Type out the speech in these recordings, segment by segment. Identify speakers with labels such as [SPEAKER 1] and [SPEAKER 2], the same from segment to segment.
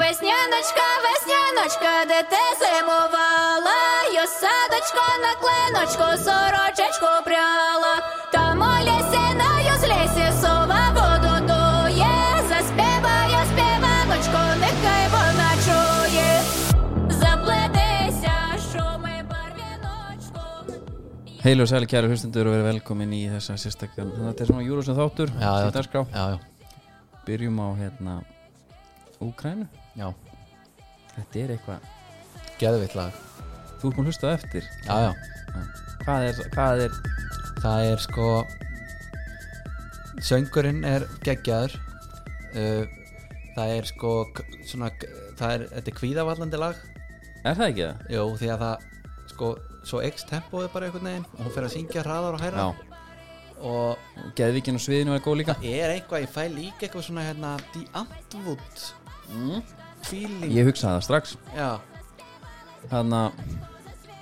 [SPEAKER 1] Весняночка, весняночка, де ти зимувала, я садочко на клиночку, сорочечку пряла. Там у лісі, на юз лісі, сова воду дує, заспіває співаночку, нехай вона чує. Заплетися, шуми барвіночку.
[SPEAKER 2] Heil og sæli kæru hlustundur og verið velkomin í þessa sérstakkan Þetta er svona Júrósson þáttur,
[SPEAKER 3] já,
[SPEAKER 2] síndagskrá
[SPEAKER 3] já, já,
[SPEAKER 2] Byrjum á hérna Úkrænu
[SPEAKER 3] já,
[SPEAKER 2] Þetta er eitthvað,
[SPEAKER 3] geðvitt lag
[SPEAKER 2] þú ert búin að hlusta á eftir
[SPEAKER 3] já, já,
[SPEAKER 2] Hvað er, hvað er
[SPEAKER 3] það er sko söngurinn er geggjaður uh, það er sko k- svona, k- það er, þetta er kvíðavallandi lag
[SPEAKER 2] Er það ekki það?
[SPEAKER 3] jú, því að það sko, svo x tempóið bara einhvern veginn og hún fer að syngja hraðar og hæra
[SPEAKER 2] Já,
[SPEAKER 3] og
[SPEAKER 2] Geðvíkinn og sviðinu er góð líka
[SPEAKER 3] það er eitthvað, ég fæ líka eitthvað svona hérna, The Antwood feeling,
[SPEAKER 2] Mm. Ég hugsaði það strax
[SPEAKER 3] já
[SPEAKER 2] Þannig að,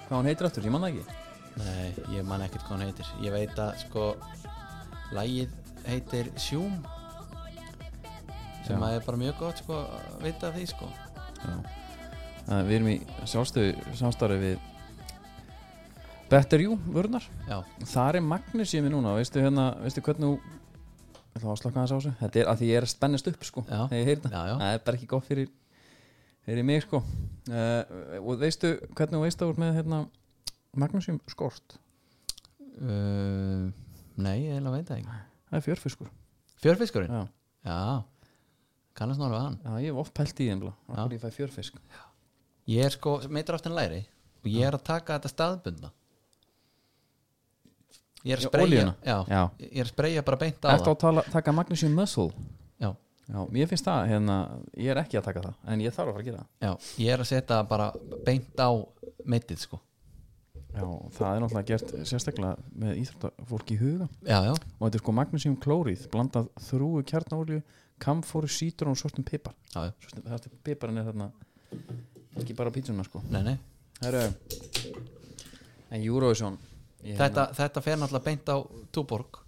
[SPEAKER 2] hvað hún heitir aftur, ég manna ekki
[SPEAKER 3] Nei, ég man ekkert hvað hann heitir Ég veit að sko Lægið heitir Sjúm
[SPEAKER 2] Já.
[SPEAKER 3] sem að er bara mjög gott sko að vita af því sko
[SPEAKER 2] Já. Þannig að Við erum í sjálfstöðu samstarfi við Better You, vörunar
[SPEAKER 3] Já,
[SPEAKER 2] Þar er Magnusími núna, veistu hérna, veistu hvernig þú Það var slokkaðans á þessu Þetta er að því ég er að spennast upp sko
[SPEAKER 3] Já.
[SPEAKER 2] Þegar ég heyri þetta.
[SPEAKER 3] Já, já.
[SPEAKER 2] Það er bara ekki gott fyrir Fyrir mig sko uh, Og veistu hvernig þú veistu úr með hérna Magnusím skort
[SPEAKER 3] uh, nei, ég eiginlega veit það ekki
[SPEAKER 2] Það er fjörfiskur
[SPEAKER 3] Fjörfiskurinn? Já,
[SPEAKER 2] Já,
[SPEAKER 3] kannast nálega við hann
[SPEAKER 2] já ég hef oft pælt í þeim
[SPEAKER 3] Já.
[SPEAKER 2] Akkur ég fæ fjörfisk
[SPEAKER 3] Ég er sko, meitur aftur en læri og ég er að taka þetta staðbundna Ég er að
[SPEAKER 2] Já,
[SPEAKER 3] spreyja
[SPEAKER 2] olíuna.
[SPEAKER 3] já,
[SPEAKER 2] Já.
[SPEAKER 3] Ég er að spreyja bara beint á
[SPEAKER 2] Þetta á
[SPEAKER 3] það
[SPEAKER 2] að tala, taka Magnusím muscle
[SPEAKER 3] já,
[SPEAKER 2] Já, ég finnst það hérna Ég er ekki að taka það, en ég þarf að fara að gera það
[SPEAKER 3] já, ég er að setja bara beint á meitið sko
[SPEAKER 2] Já, það er náttúrulega gert sérstaklega með íþróttafólki í huga
[SPEAKER 3] Já, já,
[SPEAKER 2] og þetta er sko magnesium klórið blandað þrúu kjarnolju kamfóru, sítur og svartum pipar
[SPEAKER 3] já, já.
[SPEAKER 2] svartum, það er piparinn er þarna ekki bara á pítsuna sko
[SPEAKER 3] Nei, nei.
[SPEAKER 2] Heru, en Eurovision ég
[SPEAKER 3] Þetta, þetta fer náttúrulega beint á Túborg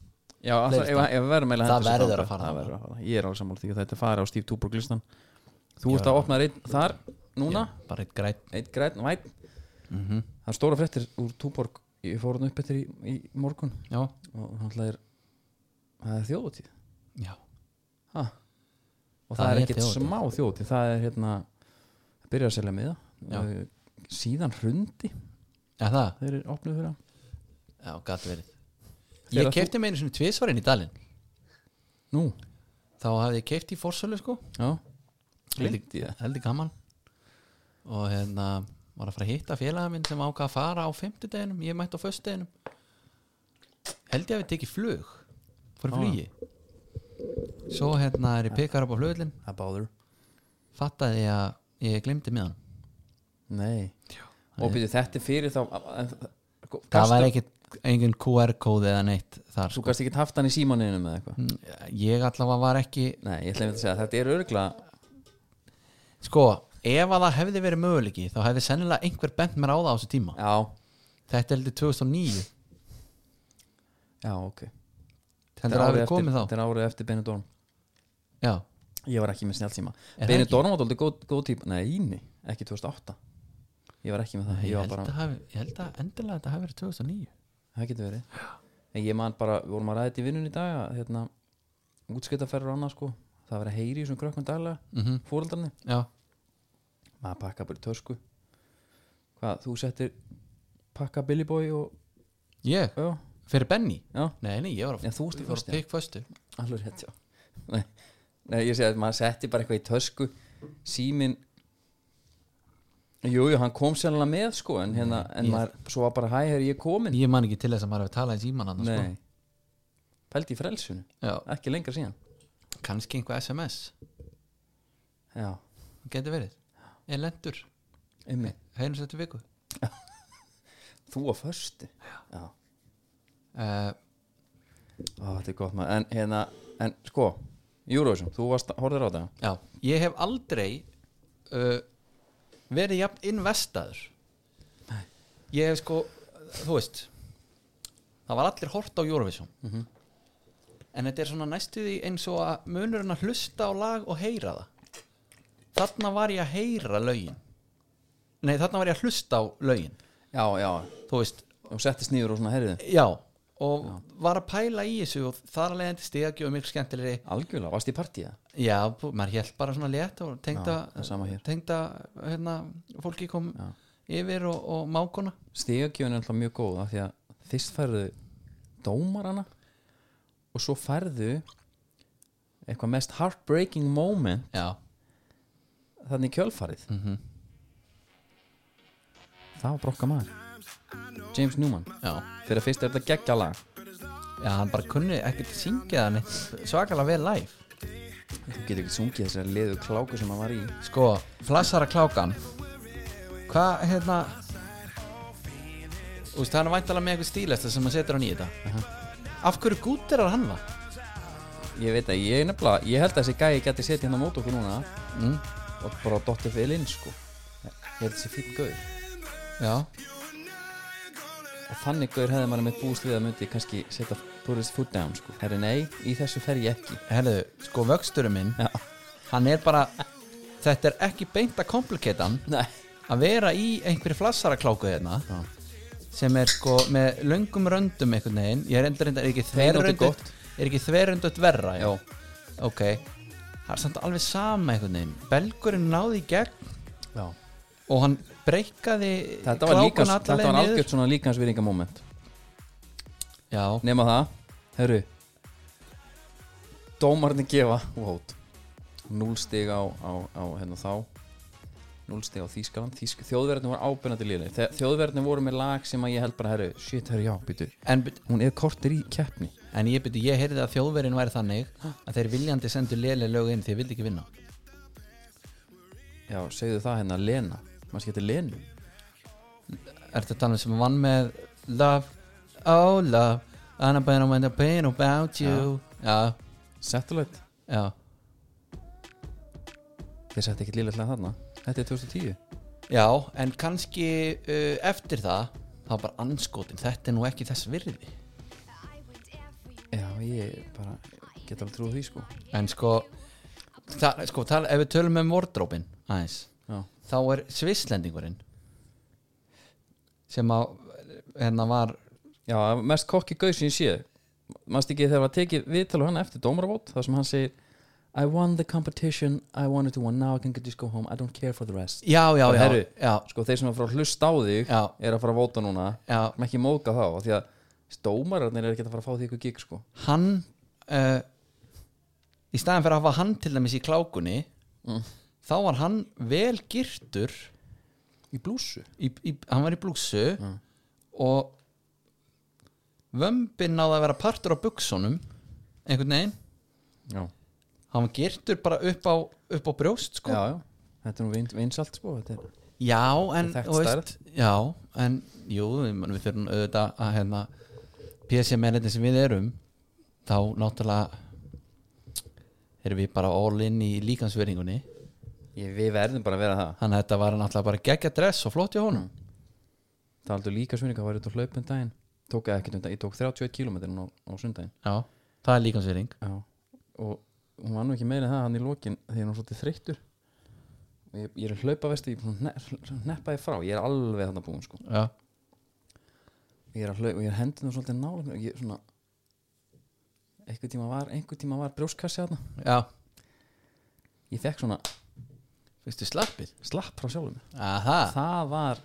[SPEAKER 2] já, alltaf, ef, ef við verðum eiginlega
[SPEAKER 3] Það
[SPEAKER 2] að henda þessu þangað,
[SPEAKER 3] verður að fara
[SPEAKER 2] það
[SPEAKER 3] þangað.
[SPEAKER 2] verður að fara ég er alveg sammála því að þetta fara á Steve Tuborg listan þú ert að opna einn þar núna
[SPEAKER 3] bara eitt græn
[SPEAKER 2] einn græn, væn
[SPEAKER 3] Mhm.
[SPEAKER 2] það er stóra fréttir úr Tuborg ég fór hann upp eftir í, í morgun
[SPEAKER 3] já.
[SPEAKER 2] og náttúrulega er það er þjóðutíð
[SPEAKER 3] já,
[SPEAKER 2] Ha. og það,
[SPEAKER 3] Það
[SPEAKER 2] er
[SPEAKER 3] er
[SPEAKER 2] ekkert
[SPEAKER 3] þjóðhátíð.
[SPEAKER 2] smá þjóti það er hérna það byrjar að selja miða
[SPEAKER 3] Já.
[SPEAKER 2] Uh, síðan hrundi
[SPEAKER 3] já það,
[SPEAKER 2] þeir eru opnuð fyrir hann.
[SPEAKER 3] já, gæti verið
[SPEAKER 2] Þegar
[SPEAKER 3] Ég
[SPEAKER 2] þú-
[SPEAKER 3] kefti með einu svona tvisvarinn í dalinn
[SPEAKER 2] nú,
[SPEAKER 3] þá hafði ég kefti í fórsölu sko
[SPEAKER 2] já
[SPEAKER 3] Heldig- heldig gaman og hérna var að fara að hitta félaga minn sem ákvað að fara á fimmtudeginum, ég mætti á föstudeginum held ég að við tekið flug fór í flugi svo hérna er ég pekar upp á flugullin
[SPEAKER 2] það báður
[SPEAKER 3] fattaði ég að ég glimti með hann
[SPEAKER 2] nei, og byrju þetta er fyrir þá en- sko,
[SPEAKER 3] það var
[SPEAKER 2] gastu-
[SPEAKER 3] ekkit engin QR-kóði eða neitt þar
[SPEAKER 2] þú gæst ekki haft hann í símaninu með eitthvað
[SPEAKER 3] Mm, ég allavega var ekki
[SPEAKER 2] nei, ég ætla að segja að þetta er örgla
[SPEAKER 3] sko, ef að það hefði verið möguleiki þá hefði sennilega einhver bent mér á það á þessu tíma
[SPEAKER 2] já,
[SPEAKER 3] þetta er heldur 2009
[SPEAKER 2] já, ok
[SPEAKER 3] heldur að
[SPEAKER 2] árið
[SPEAKER 3] hafi komið
[SPEAKER 2] eftir,
[SPEAKER 3] þá
[SPEAKER 2] þetta er árið eftir Benidorm
[SPEAKER 3] já,
[SPEAKER 2] ég var ekki með snjálfsíma
[SPEAKER 3] Er það
[SPEAKER 2] Benidorm var aldrei góð, góð típ nei, nei, ekki 2008 ég var ekki með það
[SPEAKER 3] ég,
[SPEAKER 2] ég var
[SPEAKER 3] held
[SPEAKER 2] bara
[SPEAKER 3] að hafi, ég held að endilega þetta hafi verið 2009
[SPEAKER 2] það getur verið en ég man bara, við vorum að ræða þetta í vinnun í dag að, hérna, útskiptaferður og annað sko það verið að heyri í þessum krökkum daglega mm -hmm. fóreldrarni,
[SPEAKER 3] já,
[SPEAKER 2] maður pakka bara í törsku hvað, þú settir pakka Billy Boy og
[SPEAKER 3] ég,
[SPEAKER 2] já,
[SPEAKER 3] fyrir Benny
[SPEAKER 2] já,
[SPEAKER 3] nei, nei, ég var að
[SPEAKER 2] já þú stu fyrst já.
[SPEAKER 3] pikk föstu
[SPEAKER 2] alveg rétt, já nei, nei, ég segi að maður setti bara eitthvað í törsku símin jújú, jú, hann kom sérlega með sko, en hérna, en
[SPEAKER 3] ég-
[SPEAKER 2] maður svo var bara hæ, herri, ég er komin
[SPEAKER 3] ég man ekki til þess að maður hefði talað í síman annars sko.
[SPEAKER 2] nei, pældi í frelsinu
[SPEAKER 3] já,
[SPEAKER 2] ekki lengra síðan
[SPEAKER 3] kannski einhver SMS
[SPEAKER 2] já,
[SPEAKER 3] getur verið, ég lendur
[SPEAKER 2] einmitt
[SPEAKER 3] heyrnum sér til viku
[SPEAKER 2] Þú á förstu Já,
[SPEAKER 3] uh,
[SPEAKER 2] Ó, þetta er gott maður En, hérna, en sko, Eurovision, þú varst, horfðir á þetta
[SPEAKER 3] Já, ég hef aldrei uh, verið jafn investaður Ég hef sko, þú veist það var allir hort á Eurovision en þetta er svona næstuði eins og að munurinn að hlusta á lag og heyra það þarna var ég að heyra lögin nei, þarna var ég að hlusta á lögin
[SPEAKER 2] já, já,
[SPEAKER 3] þú veist,
[SPEAKER 2] og settist nýður og svona herriðu
[SPEAKER 3] já og var að pæla í þessu og þar að leiðandi stegagjöf miklu skemmtilegri
[SPEAKER 2] algjörlega, varst í partíða
[SPEAKER 3] já, bú- maður hélt bara svona létt og tengda,
[SPEAKER 2] Já, það er sama hér.
[SPEAKER 3] tengda hérna, fólki kom yfir og, og mákona
[SPEAKER 2] stigagjöfin er alltaf mjög góð af því að fyrst færðu dómarana og svo færðu eitthvað mest heartbreaking moment
[SPEAKER 3] já,
[SPEAKER 2] þannig kjölfarið
[SPEAKER 3] Mhm.
[SPEAKER 2] það var brokka maður James Newman
[SPEAKER 3] já,
[SPEAKER 2] fyrir að fyrst er þetta geggja lag
[SPEAKER 3] já, hann bara kunni ekkert að syngja hann svakalega vel live
[SPEAKER 2] þú getur ekki sungið þessari liðu kláku sem hann var í
[SPEAKER 3] Sko, flassara klákan Hvað, hérna Þú veist, hann er væntalega með eitthvað stílesta sem hann setur hann í þetta Af hverju gúterar hann það?
[SPEAKER 2] ég veit að ég er nefnilega, ég held að þessi gæi geti setið hérna á mót okkur núna
[SPEAKER 3] Mm.
[SPEAKER 2] og bara dottið fyrir inn sko ég held að þessi fyrir gauð
[SPEAKER 3] Já,
[SPEAKER 2] og þannig gaur hefði maður með búist við að myndi kannski setja put his foot down sko herri nei, í þessu fer ég ekki
[SPEAKER 3] herðu, sko, vöxturum minn
[SPEAKER 2] já,
[SPEAKER 3] Hann er bara Þetta er ekki beint að kompliketa hann
[SPEAKER 2] nei
[SPEAKER 3] Að vera í einhverju flassara kláku hérna
[SPEAKER 2] Já.
[SPEAKER 3] Sem er sko með löngum röndum einhvern veginn Ég er endur, endur, er ekki
[SPEAKER 2] Hrein og til
[SPEAKER 3] þverröndut
[SPEAKER 2] gott.
[SPEAKER 3] Er ekki þverröndut verra
[SPEAKER 2] já,
[SPEAKER 3] Ok Það er samt alveg sama einhvern veginn Belgurinn náði í gegn
[SPEAKER 2] já.
[SPEAKER 3] og hann breykaði
[SPEAKER 2] þetta var líka, þetta var
[SPEAKER 3] algjör
[SPEAKER 2] algjört svona líkansvýringamoment
[SPEAKER 3] já,
[SPEAKER 2] nema það, herru dómarni gefa vót, núlstig á, á, á hérna þá núlstig á Þýskaland, Þýsk, þjóðverðin var ábyrnandi líðinni, þjóðverðin voru með lag sem að ég held bara, herru, shit, herru, já, býtu
[SPEAKER 3] en, bet-
[SPEAKER 2] hún er kortir í keppni
[SPEAKER 3] en ég byrju, ég heyrði að þjóðverin væri þannig að þeir viljandi sendu léleg lög inn því þeir vildi ekki vinna
[SPEAKER 2] já, segðu það hérna, Lena maður skemmtir Lenu
[SPEAKER 3] er þetta þannig um sem vann með love, oh love and I've been on my pain about you já,
[SPEAKER 2] Satellite
[SPEAKER 3] já,
[SPEAKER 2] Þeir setti ekkert lilla hlæð þarna Þetta er 2010
[SPEAKER 3] já, en kannski uh, eftir það þá bara anskotin, þetta er nú ekki þess virði
[SPEAKER 2] Já, ég bara get alveg trúið því sko
[SPEAKER 3] en sko, það, sko tal, ef við tölum um wardrópin aðeins
[SPEAKER 2] Já,
[SPEAKER 3] þá er svisslendingurinn sem að hérna var
[SPEAKER 2] Já mest kokki gaus sem ég sé Manst ekki þegar var tekið viðtal á hann eftir dómaravót þar sem hann segir I won the competition, I wanted to win now I can just go home, I don't care for the rest
[SPEAKER 3] já, já,
[SPEAKER 2] Bara,
[SPEAKER 3] já,
[SPEAKER 2] herru.
[SPEAKER 3] já,
[SPEAKER 2] Sko þeir sem er að fara að hlusta á þig
[SPEAKER 3] já,
[SPEAKER 2] er að fara að vóta núna
[SPEAKER 3] já
[SPEAKER 2] Má ekki móka þá af því að dómararnir er ekki að fara að fá því ykkur gig sko
[SPEAKER 3] hann uh, í staðan fyrir að hafa hann til dæmis í klákunni Mm. þá var hann vel girtur
[SPEAKER 2] Í blússu
[SPEAKER 3] í, í, hann var í blússu og vömbin náði að vera partur á buksunum einhvern veginn
[SPEAKER 2] Já,
[SPEAKER 3] hann var girtur bara upp á, upp á brjóst sko.
[SPEAKER 2] já, já Þetta er nú vins, vinsalt sko Þetta er
[SPEAKER 3] Já, en
[SPEAKER 2] Þekkt
[SPEAKER 3] þú veist, já, en jú, ég meina, við þurfum auðvitað að hérna PC mennetni sem við erum þá náttúrulega erum við bara all in í líkansveringunni
[SPEAKER 2] Ég, við verðum bara að vera það
[SPEAKER 3] þannig að þetta var náttúrulega bara geggja dress og flott hjá honum
[SPEAKER 2] Mm. Taldu líka svinninga, var út á hlaupum daginn Tók ekki undan, ég tók 31 km á, á sundaginn
[SPEAKER 3] Já, það er líkansvering
[SPEAKER 2] Já Og hún var nú ekki meira en það hann í lokin Þegar hún var svolítið þreyttur Og Ég, ég er hlaupa vestu, ég er búin að hne- hneppa þér frá Ég er alveg þarna búin sko
[SPEAKER 3] Já,
[SPEAKER 2] Ég er að hlaupa og ég er hendin og svolítið nála Ég er svona Einhver tíma var, einhver tíma var brjóskassi þarna
[SPEAKER 3] já,
[SPEAKER 2] Ég fekk svona
[SPEAKER 3] veistu slappið
[SPEAKER 2] slapp frá sjálfum mér
[SPEAKER 3] Aha,
[SPEAKER 2] Það var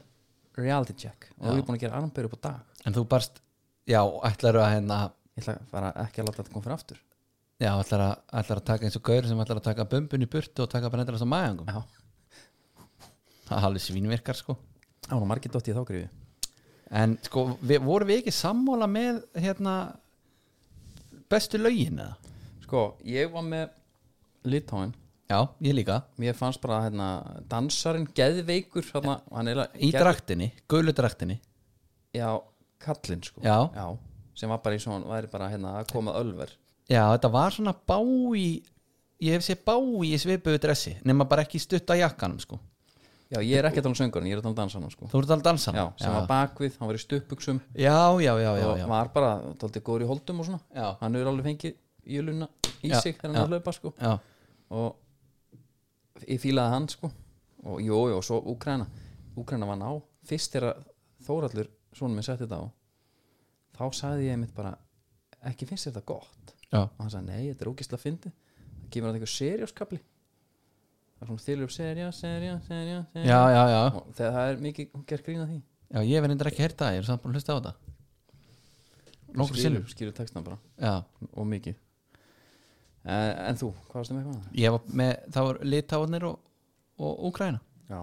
[SPEAKER 2] reality check Og
[SPEAKER 3] Ah. Já.
[SPEAKER 2] ég er búin að gera armböru upp á dag
[SPEAKER 3] en þú barst já, ætlarðu að hérna
[SPEAKER 2] Ég ætla að fara ekki að láta þetta koma fyrir aftur
[SPEAKER 3] já, ætlar að, ætlar að taka eins og gaur sem ætlar að taka bumbun í burtu og taka bara endur þess að maðangum
[SPEAKER 2] Já,
[SPEAKER 3] það er alveg svínvirkar sko
[SPEAKER 2] það var margir dotti í þá grífi
[SPEAKER 3] En sko, við, vorum við ekki sammála með hérna bestu lögin eða?
[SPEAKER 2] Sko, ég var með Litáin,
[SPEAKER 3] Já, ég líka
[SPEAKER 2] mér fannst bara hérna, dansarinn geðveikur hérna, hann er að-
[SPEAKER 3] Í draktinni, gulu draktinni
[SPEAKER 2] Já, kallinn sko
[SPEAKER 3] Já.
[SPEAKER 2] sem var bara í svona, væri bara hérna að koma ölver
[SPEAKER 3] Já, þetta var svona bái Ég hef séð bái í svipuðu dressi nema bara ekki stutta jakkanum sko
[SPEAKER 2] Já, ég er ekki að tala um söngurinn, ég er að tala um dansanum sko
[SPEAKER 3] Þú ert alveg dansan
[SPEAKER 2] Já, sem var bakvið, hann var í stuppuksum
[SPEAKER 3] já, já, já, já,
[SPEAKER 2] og
[SPEAKER 3] já.
[SPEAKER 2] var bara, tóldi góður í holdum og svona
[SPEAKER 3] Já.
[SPEAKER 2] hann er alveg fengið jöluna í
[SPEAKER 3] Já,
[SPEAKER 2] sig þegar hann
[SPEAKER 3] já.
[SPEAKER 2] er að hlaupa sko
[SPEAKER 3] já.
[SPEAKER 2] og ég fílaði hann sko og jú, jú, og svo Úkraina Úkraina vann á, fyrst er að Þóraldur, svona minn setti þetta á þá sagði ég mitt bara ekki finnst þér þetta gott
[SPEAKER 3] já,
[SPEAKER 2] og hann sagði, nei, þetta er ógislega fyndi það gefur hann eitthvað serjóskabli það er svona þylur upp serjá, serjá, serjá, serjá.
[SPEAKER 3] já, já, já.
[SPEAKER 2] og þegar það er mikið, hún ger grína því
[SPEAKER 3] já ég hef endur ekki heyrt það, ég er samt búin að hlusta á þetta nokkur sinnum
[SPEAKER 2] skilur textan bara,
[SPEAKER 3] já,
[SPEAKER 2] og mikið en, en þú, hvað varstu með eitthvað?
[SPEAKER 3] ég var með, það var litáðnir og, og Úkraina
[SPEAKER 2] Já,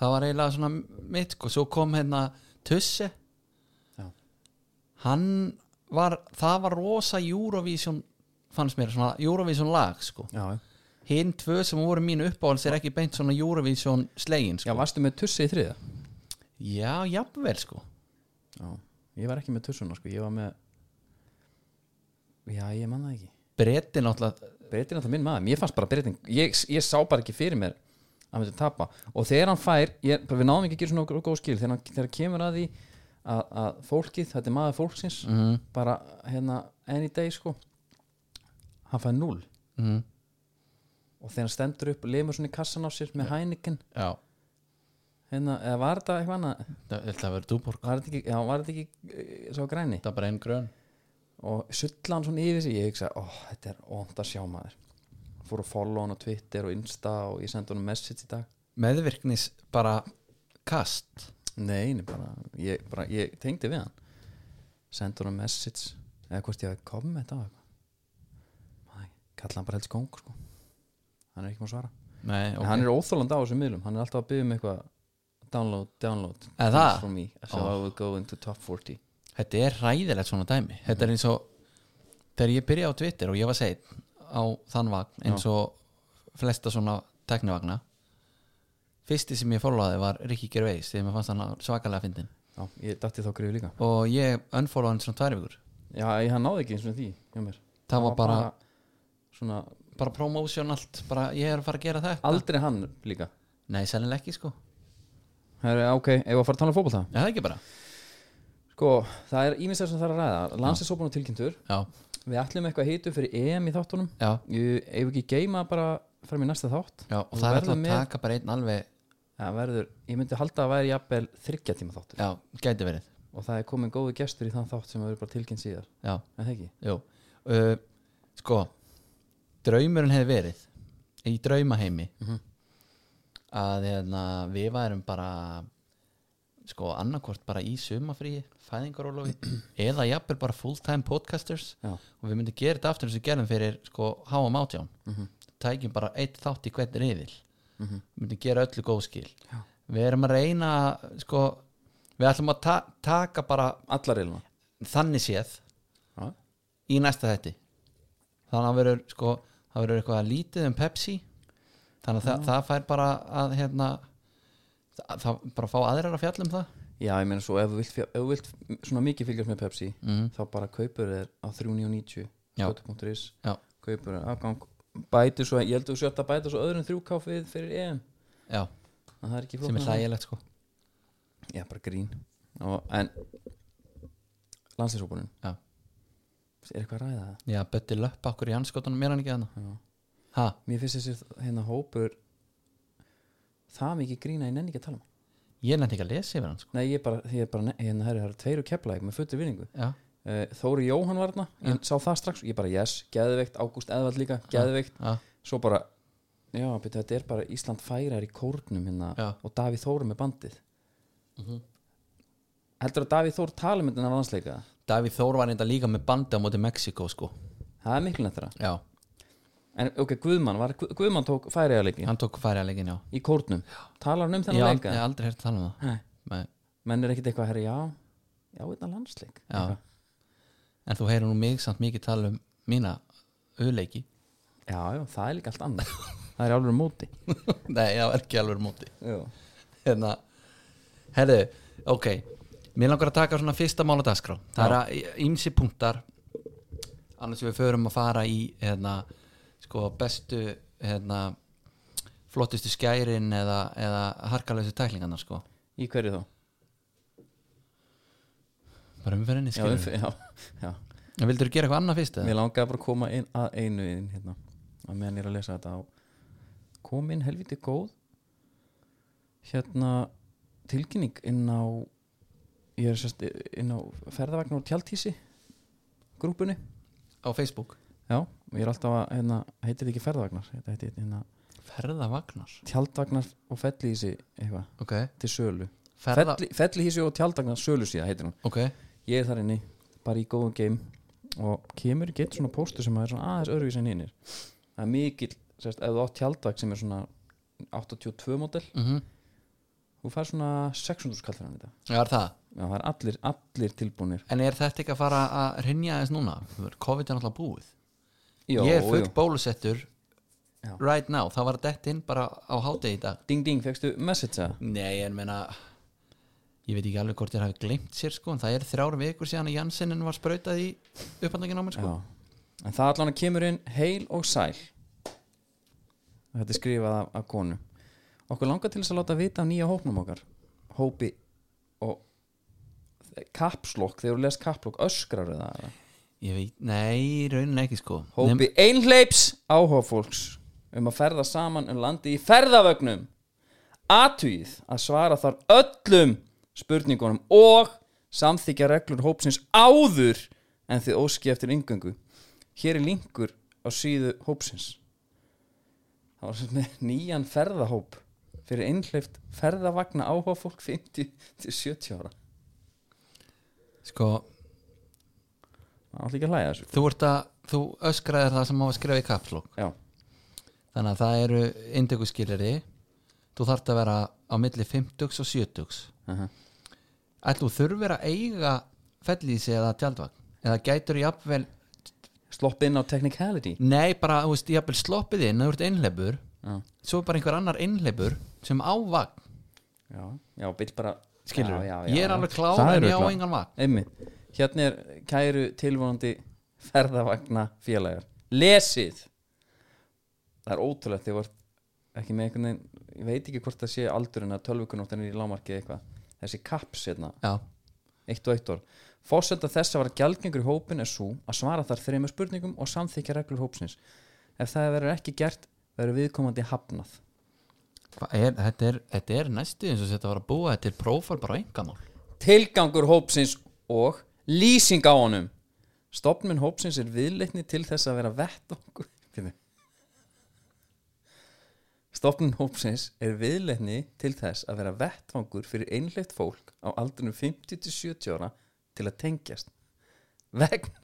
[SPEAKER 3] það var eiginlega svona mitt sko. svo kom hérna Tussi
[SPEAKER 2] Já.
[SPEAKER 3] hann var það var rosa Eurovision fannst mér, svona Eurovision lag sko.
[SPEAKER 2] já, já.
[SPEAKER 3] hinn tvö sem voru mínu uppáhalds er ekki beint svona Eurovision slegin
[SPEAKER 2] já
[SPEAKER 3] sko.
[SPEAKER 2] varstu með tussi í þriða?
[SPEAKER 3] já, jafnvel sko
[SPEAKER 2] Já, ég var ekki með tussuna sko, ég var með Já, ég man það ekki
[SPEAKER 3] bretti náttúrulega
[SPEAKER 2] Breytin er alltaf minn maður, mér fannst bara breytin ég, ég sá bara ekki fyrir mér að myndi tapa og þegar hann fær, ég, bara við náðum ekki að gera svona góð skil, þegar, hann, þegar kemur að því að, að fólkið, þetta er maður fólksins
[SPEAKER 3] mm,
[SPEAKER 2] bara hérna any day sko hann fær null
[SPEAKER 3] mm,
[SPEAKER 2] og þegar hann stendur upp og lemur svona í kassan á sér með hænikin,
[SPEAKER 3] já,
[SPEAKER 2] hérna, eða var þetta eitthvað annað,
[SPEAKER 3] það, það verður dúborg
[SPEAKER 2] var þetta ekki, já, var þetta ekki eh, sá græni
[SPEAKER 3] það er bara einn grön
[SPEAKER 2] og sulla hann svona yfir sig ég hugsa, ó, þetta er ónt að sjá maður fór að follow hann á Twitter og Insta og ég sendi hann message í dag
[SPEAKER 3] meðvirknis bara kast
[SPEAKER 2] nei, nei, bara, ég, bara, ég tengdi við hann sendi hann message eða hvort ég hafi komment á eitthvað nei, kalla hann bara helst kong sko. hann er ekki maður að svara
[SPEAKER 3] Nei,
[SPEAKER 2] okay. hann er óþóland á þessum miðlum, hann er alltaf að byggja um eitthvað download, download
[SPEAKER 3] Er það?
[SPEAKER 2] for me, so I will go into top 40
[SPEAKER 3] Þetta er ræðilegt svona dæmi
[SPEAKER 2] Mhm.
[SPEAKER 3] Þetta er eins og Þegar ég byrjaði á Twitter og ég var segið á þann vagn eins og flesta svona teknivagna Fyrsti sem ég fórláði var Rikki Gervais þegar mér fannst hann svakalega fyndin
[SPEAKER 2] já, ég datti þá grifu líka
[SPEAKER 3] og ég unfollow hann svona tvær vikur
[SPEAKER 2] já, ég, hann náði ekki eins og því hjá mér.
[SPEAKER 3] Það var bara,
[SPEAKER 2] svona,
[SPEAKER 3] bara promotion allt bara ég er að fara að gera þetta
[SPEAKER 2] aldrei hann líka
[SPEAKER 3] Nei, sennilega ekki sko
[SPEAKER 2] Herri, ok, ef að fara að tala um fótbolta
[SPEAKER 3] Já, það er ekki bara
[SPEAKER 2] Sko, það er íminslega sem það er að ræða Landsliðsópan og tilkynntur
[SPEAKER 3] Já,
[SPEAKER 2] Við ætlum eitthvað heitu fyrir EM í þáttunum
[SPEAKER 3] já,
[SPEAKER 2] Ég ef ekki geima bara fram í næsta þátt
[SPEAKER 3] já og
[SPEAKER 2] Þú
[SPEAKER 3] það er
[SPEAKER 2] verður
[SPEAKER 3] alltaf að
[SPEAKER 2] með-
[SPEAKER 3] taka bara einn alveg
[SPEAKER 2] Það verður, ég myndi halda að væri jafnvel þryggja tíma þáttur
[SPEAKER 3] Já, gæti verið
[SPEAKER 2] Og það er komin góði gestur í þann þátt sem verður bara tilkynnt síðar
[SPEAKER 3] Já,
[SPEAKER 2] En það ekki?
[SPEAKER 3] Jú, uh, sko draumurinn hefði verið í draumaheimi að hérna, við værum bara sko annarkvort bara í sumafríi, fæðingarólofi eða jafnvel bara fulltime podcasters
[SPEAKER 2] Já,
[SPEAKER 3] og við myndum gera þetta aftur eins og við gerðum fyrir sko háum átján tækjum bara eitt þátt í hvern riðil við myndum gera öllu góð skil
[SPEAKER 2] Já.
[SPEAKER 3] við erum að reyna að, sko, við ætlum að ta taka bara
[SPEAKER 2] allar eiluna
[SPEAKER 3] þannig séð
[SPEAKER 2] Já,
[SPEAKER 3] í næsta þætti þannig að verður sko það verður eitthvað lítið um Pepsi þannig að það, það fær bara að hérna það, það bara fá aðrar að fjalla um það
[SPEAKER 2] Já ég meina svo, ef þú vilt, fjá- ef þú vilt svona mikið fylgjast með Pepsi
[SPEAKER 3] mm.
[SPEAKER 2] Þá bara kaupur þeir á 3.990
[SPEAKER 3] Já.
[SPEAKER 2] Kautur.is
[SPEAKER 3] Já.
[SPEAKER 2] Kaupur þeir afgang Bætu svo, ég held að þú sért að bæta svo öðrum þrjúkáfið fyrir EM
[SPEAKER 3] já,
[SPEAKER 2] En Það er ekki
[SPEAKER 3] sem
[SPEAKER 2] flóknara.
[SPEAKER 3] er hlægilegt sko
[SPEAKER 2] Já, bara grín og, En landslýsópunum
[SPEAKER 3] Já.
[SPEAKER 2] Er eitthvað að ræða það?
[SPEAKER 3] já, Bötti löpp okkur í anskotunum er hann ekki þannig
[SPEAKER 2] Já.
[SPEAKER 3] ha,
[SPEAKER 2] Mér finnst þessi hérna hópur það mikið grína ég nenni ekki að tala um hann.
[SPEAKER 3] ég nefndi ekki að lesa yfir hann sko
[SPEAKER 2] Nei, ég bara, ég bara ne- hérna, herri, það eru tveir og keplæk með fullu vinningu
[SPEAKER 3] já,
[SPEAKER 2] uh, Þóri Jóhann var þarna, ég sá það strax ég bara, yes, geðveikt, Ágúst Eðvald líka geðveikt,
[SPEAKER 3] já,
[SPEAKER 2] svo bara já, beti, þetta er bara Ísland færar í kórnum hérna,
[SPEAKER 3] Já. Mhm.
[SPEAKER 2] og Davíð Þóri með bandið Heldur að Davíð Þór tala um þetta landsleika?
[SPEAKER 3] Davíð Þór var reynda líka með bandi á móti Mexiko sko
[SPEAKER 2] Það er miklu nættara
[SPEAKER 3] já,
[SPEAKER 2] En ok, Guðmann, var, Guð- Guðmann tók færiðarleiki
[SPEAKER 3] hann tók færi að leikin já
[SPEAKER 2] í kórnum, talar hann um
[SPEAKER 3] ég
[SPEAKER 2] þennan
[SPEAKER 3] hef
[SPEAKER 2] leika?
[SPEAKER 3] aldrei hægt að tala um það
[SPEAKER 2] Nei.
[SPEAKER 3] Nei.
[SPEAKER 2] Menn er ekkit eitthvað, herri, já, já, þetta landsleik
[SPEAKER 3] Já.
[SPEAKER 2] Eitthvað.
[SPEAKER 3] en þú heyrur nú mig samt mikið tala um mína auðleiki
[SPEAKER 2] já, já, það er líka allt annað Það er alveg móti
[SPEAKER 3] nei, já, ekki alveg móti
[SPEAKER 2] já.
[SPEAKER 3] hérna herðu, ok mér langar að taka svona fyrsta mál á dagskrá það er að ímsi punktar annars við förum að fara í hérna, sko bestu hérna, flottustu skærin eða, eða harkalösu tæklingarnar sko
[SPEAKER 2] Í hverju þá?
[SPEAKER 3] bara umferðinni
[SPEAKER 2] Já,
[SPEAKER 3] skærin
[SPEAKER 2] umf- já, já.
[SPEAKER 3] en vildur þú gera eitthvað annað fyrst eða?
[SPEAKER 2] Mér langaði bara að koma inn að einu inn hérna, að meðan ég er að lesa þetta á kom inn helviti góð hérna tilkynning inn á ég er sérst inn á ferðavagn og tjaldhísi grúpunni
[SPEAKER 3] á Facebook
[SPEAKER 2] já, og ég er alltaf að hérna, heitir þetta ekki ferðavagnar þetta heitir hérna
[SPEAKER 3] Ferðavagnar
[SPEAKER 2] tjaldvagnar og fellihísi eitthvað
[SPEAKER 3] Ok,
[SPEAKER 2] til sölu
[SPEAKER 3] Ferða,
[SPEAKER 2] Felli, fellihísi og tjaldvagnar sölu síða heitir hún
[SPEAKER 3] ok,
[SPEAKER 2] ég er þar inni, bara í góðum geim og kemur í geitt svona póstur sem er svona aðeins öðruvísi en hinnir það er mikill, sérst, ef þú átt tjaldvagn sem er svona 82 model
[SPEAKER 3] mm
[SPEAKER 2] þú fær svona 600 skall fyrir hann þetta
[SPEAKER 3] já er það
[SPEAKER 2] já, það er allir, allir tilbúnir
[SPEAKER 3] En er þetta ekki að fara að rinja þess núna? COVID er náttúrulega búið Ég er full bólusettur
[SPEAKER 2] Já.
[SPEAKER 3] right now, það var dett inn bara á hátegi í dag
[SPEAKER 2] ding ding, fegstu message það
[SPEAKER 3] Nei, en meina Ég veit ekki alveg hvort ég hafi gleymt sér sko en það er þrjár vikur síðan að Janssenin var sprautað í upphandlingin á mér sko
[SPEAKER 2] Já. en það allan að kemur inn heil og sæl þetta er skrifað af, af konu okkur langar til þess að láta vita af nýja hópnum okkar hópi og kapslokk, þegar þú les kapslokk öskrar það
[SPEAKER 3] Ég veit, nei, í rauninni ekki sko
[SPEAKER 2] hópi einhleips áhófólks um að ferða saman um landi í ferðavögnum atugið að svara þar öllum spurningunum og samþykja reglur hópsins áður en þið óski eftir yngöngu hér er linkur á síðu hópsins það var sem með nýjan ferðahóp fyrir einhleift ferðavagna áhófólk 50 til 70 ára
[SPEAKER 3] Sko,
[SPEAKER 2] það var líka að hlæja að þessu
[SPEAKER 3] þú ert að, þú öskraðir það sem á að skrifa í kapslokk
[SPEAKER 2] já,
[SPEAKER 3] Þannig að það eru indekuskiliri Þú þarft að vera á milli 50 og 70
[SPEAKER 2] uh
[SPEAKER 3] Ætlu þú þurfir að eiga fellísi eða tjaldvagn Eða gætur jafnvel
[SPEAKER 2] slopp inn á technicality
[SPEAKER 3] Nei, bara, þú veist, jafnvel sloppið inn Þú ert einhleipur
[SPEAKER 2] já,
[SPEAKER 3] Svo er bara einhver annar einhleipur sem á vagn
[SPEAKER 2] já, já vill bara
[SPEAKER 3] Skilur,
[SPEAKER 2] já, já, já,
[SPEAKER 3] ég er
[SPEAKER 2] já.
[SPEAKER 3] alveg klár
[SPEAKER 2] Það
[SPEAKER 3] en
[SPEAKER 2] eru
[SPEAKER 3] ég á
[SPEAKER 2] klár.
[SPEAKER 3] engan vagn
[SPEAKER 2] Einmitt. Hérna er kæru tilvonandi ferðavagna félagar Lesið Það er ótrúlegt þegar vart ekki með einhvern veginn Ég veit ekki hvort það sé aldurinn að tölvukunóttan er í lámarki eða eitthvað Þessi kaps hérna,
[SPEAKER 3] Já,
[SPEAKER 2] eitt og eitt orð Fórsenda þess að vera gjaldgengur í hópin er svo að svara þar þreymur spurningum og samþykja reglur hópsins Ef það verður ekki gert, verður viðkomandi hafnað
[SPEAKER 3] Hva er, þetta, er, þetta er næstu eins og þetta var að búa Þetta er prófar bara engamál
[SPEAKER 2] tilgangur hópsins og lýsing á honum stopnum hópsins er viðleitni til þess að vera vettvangur stopnum hópsins er viðleitni til þess að vera vettvangur fyrir einleitt fólk á aldrinum 50-70 ára til að tengjast vegna,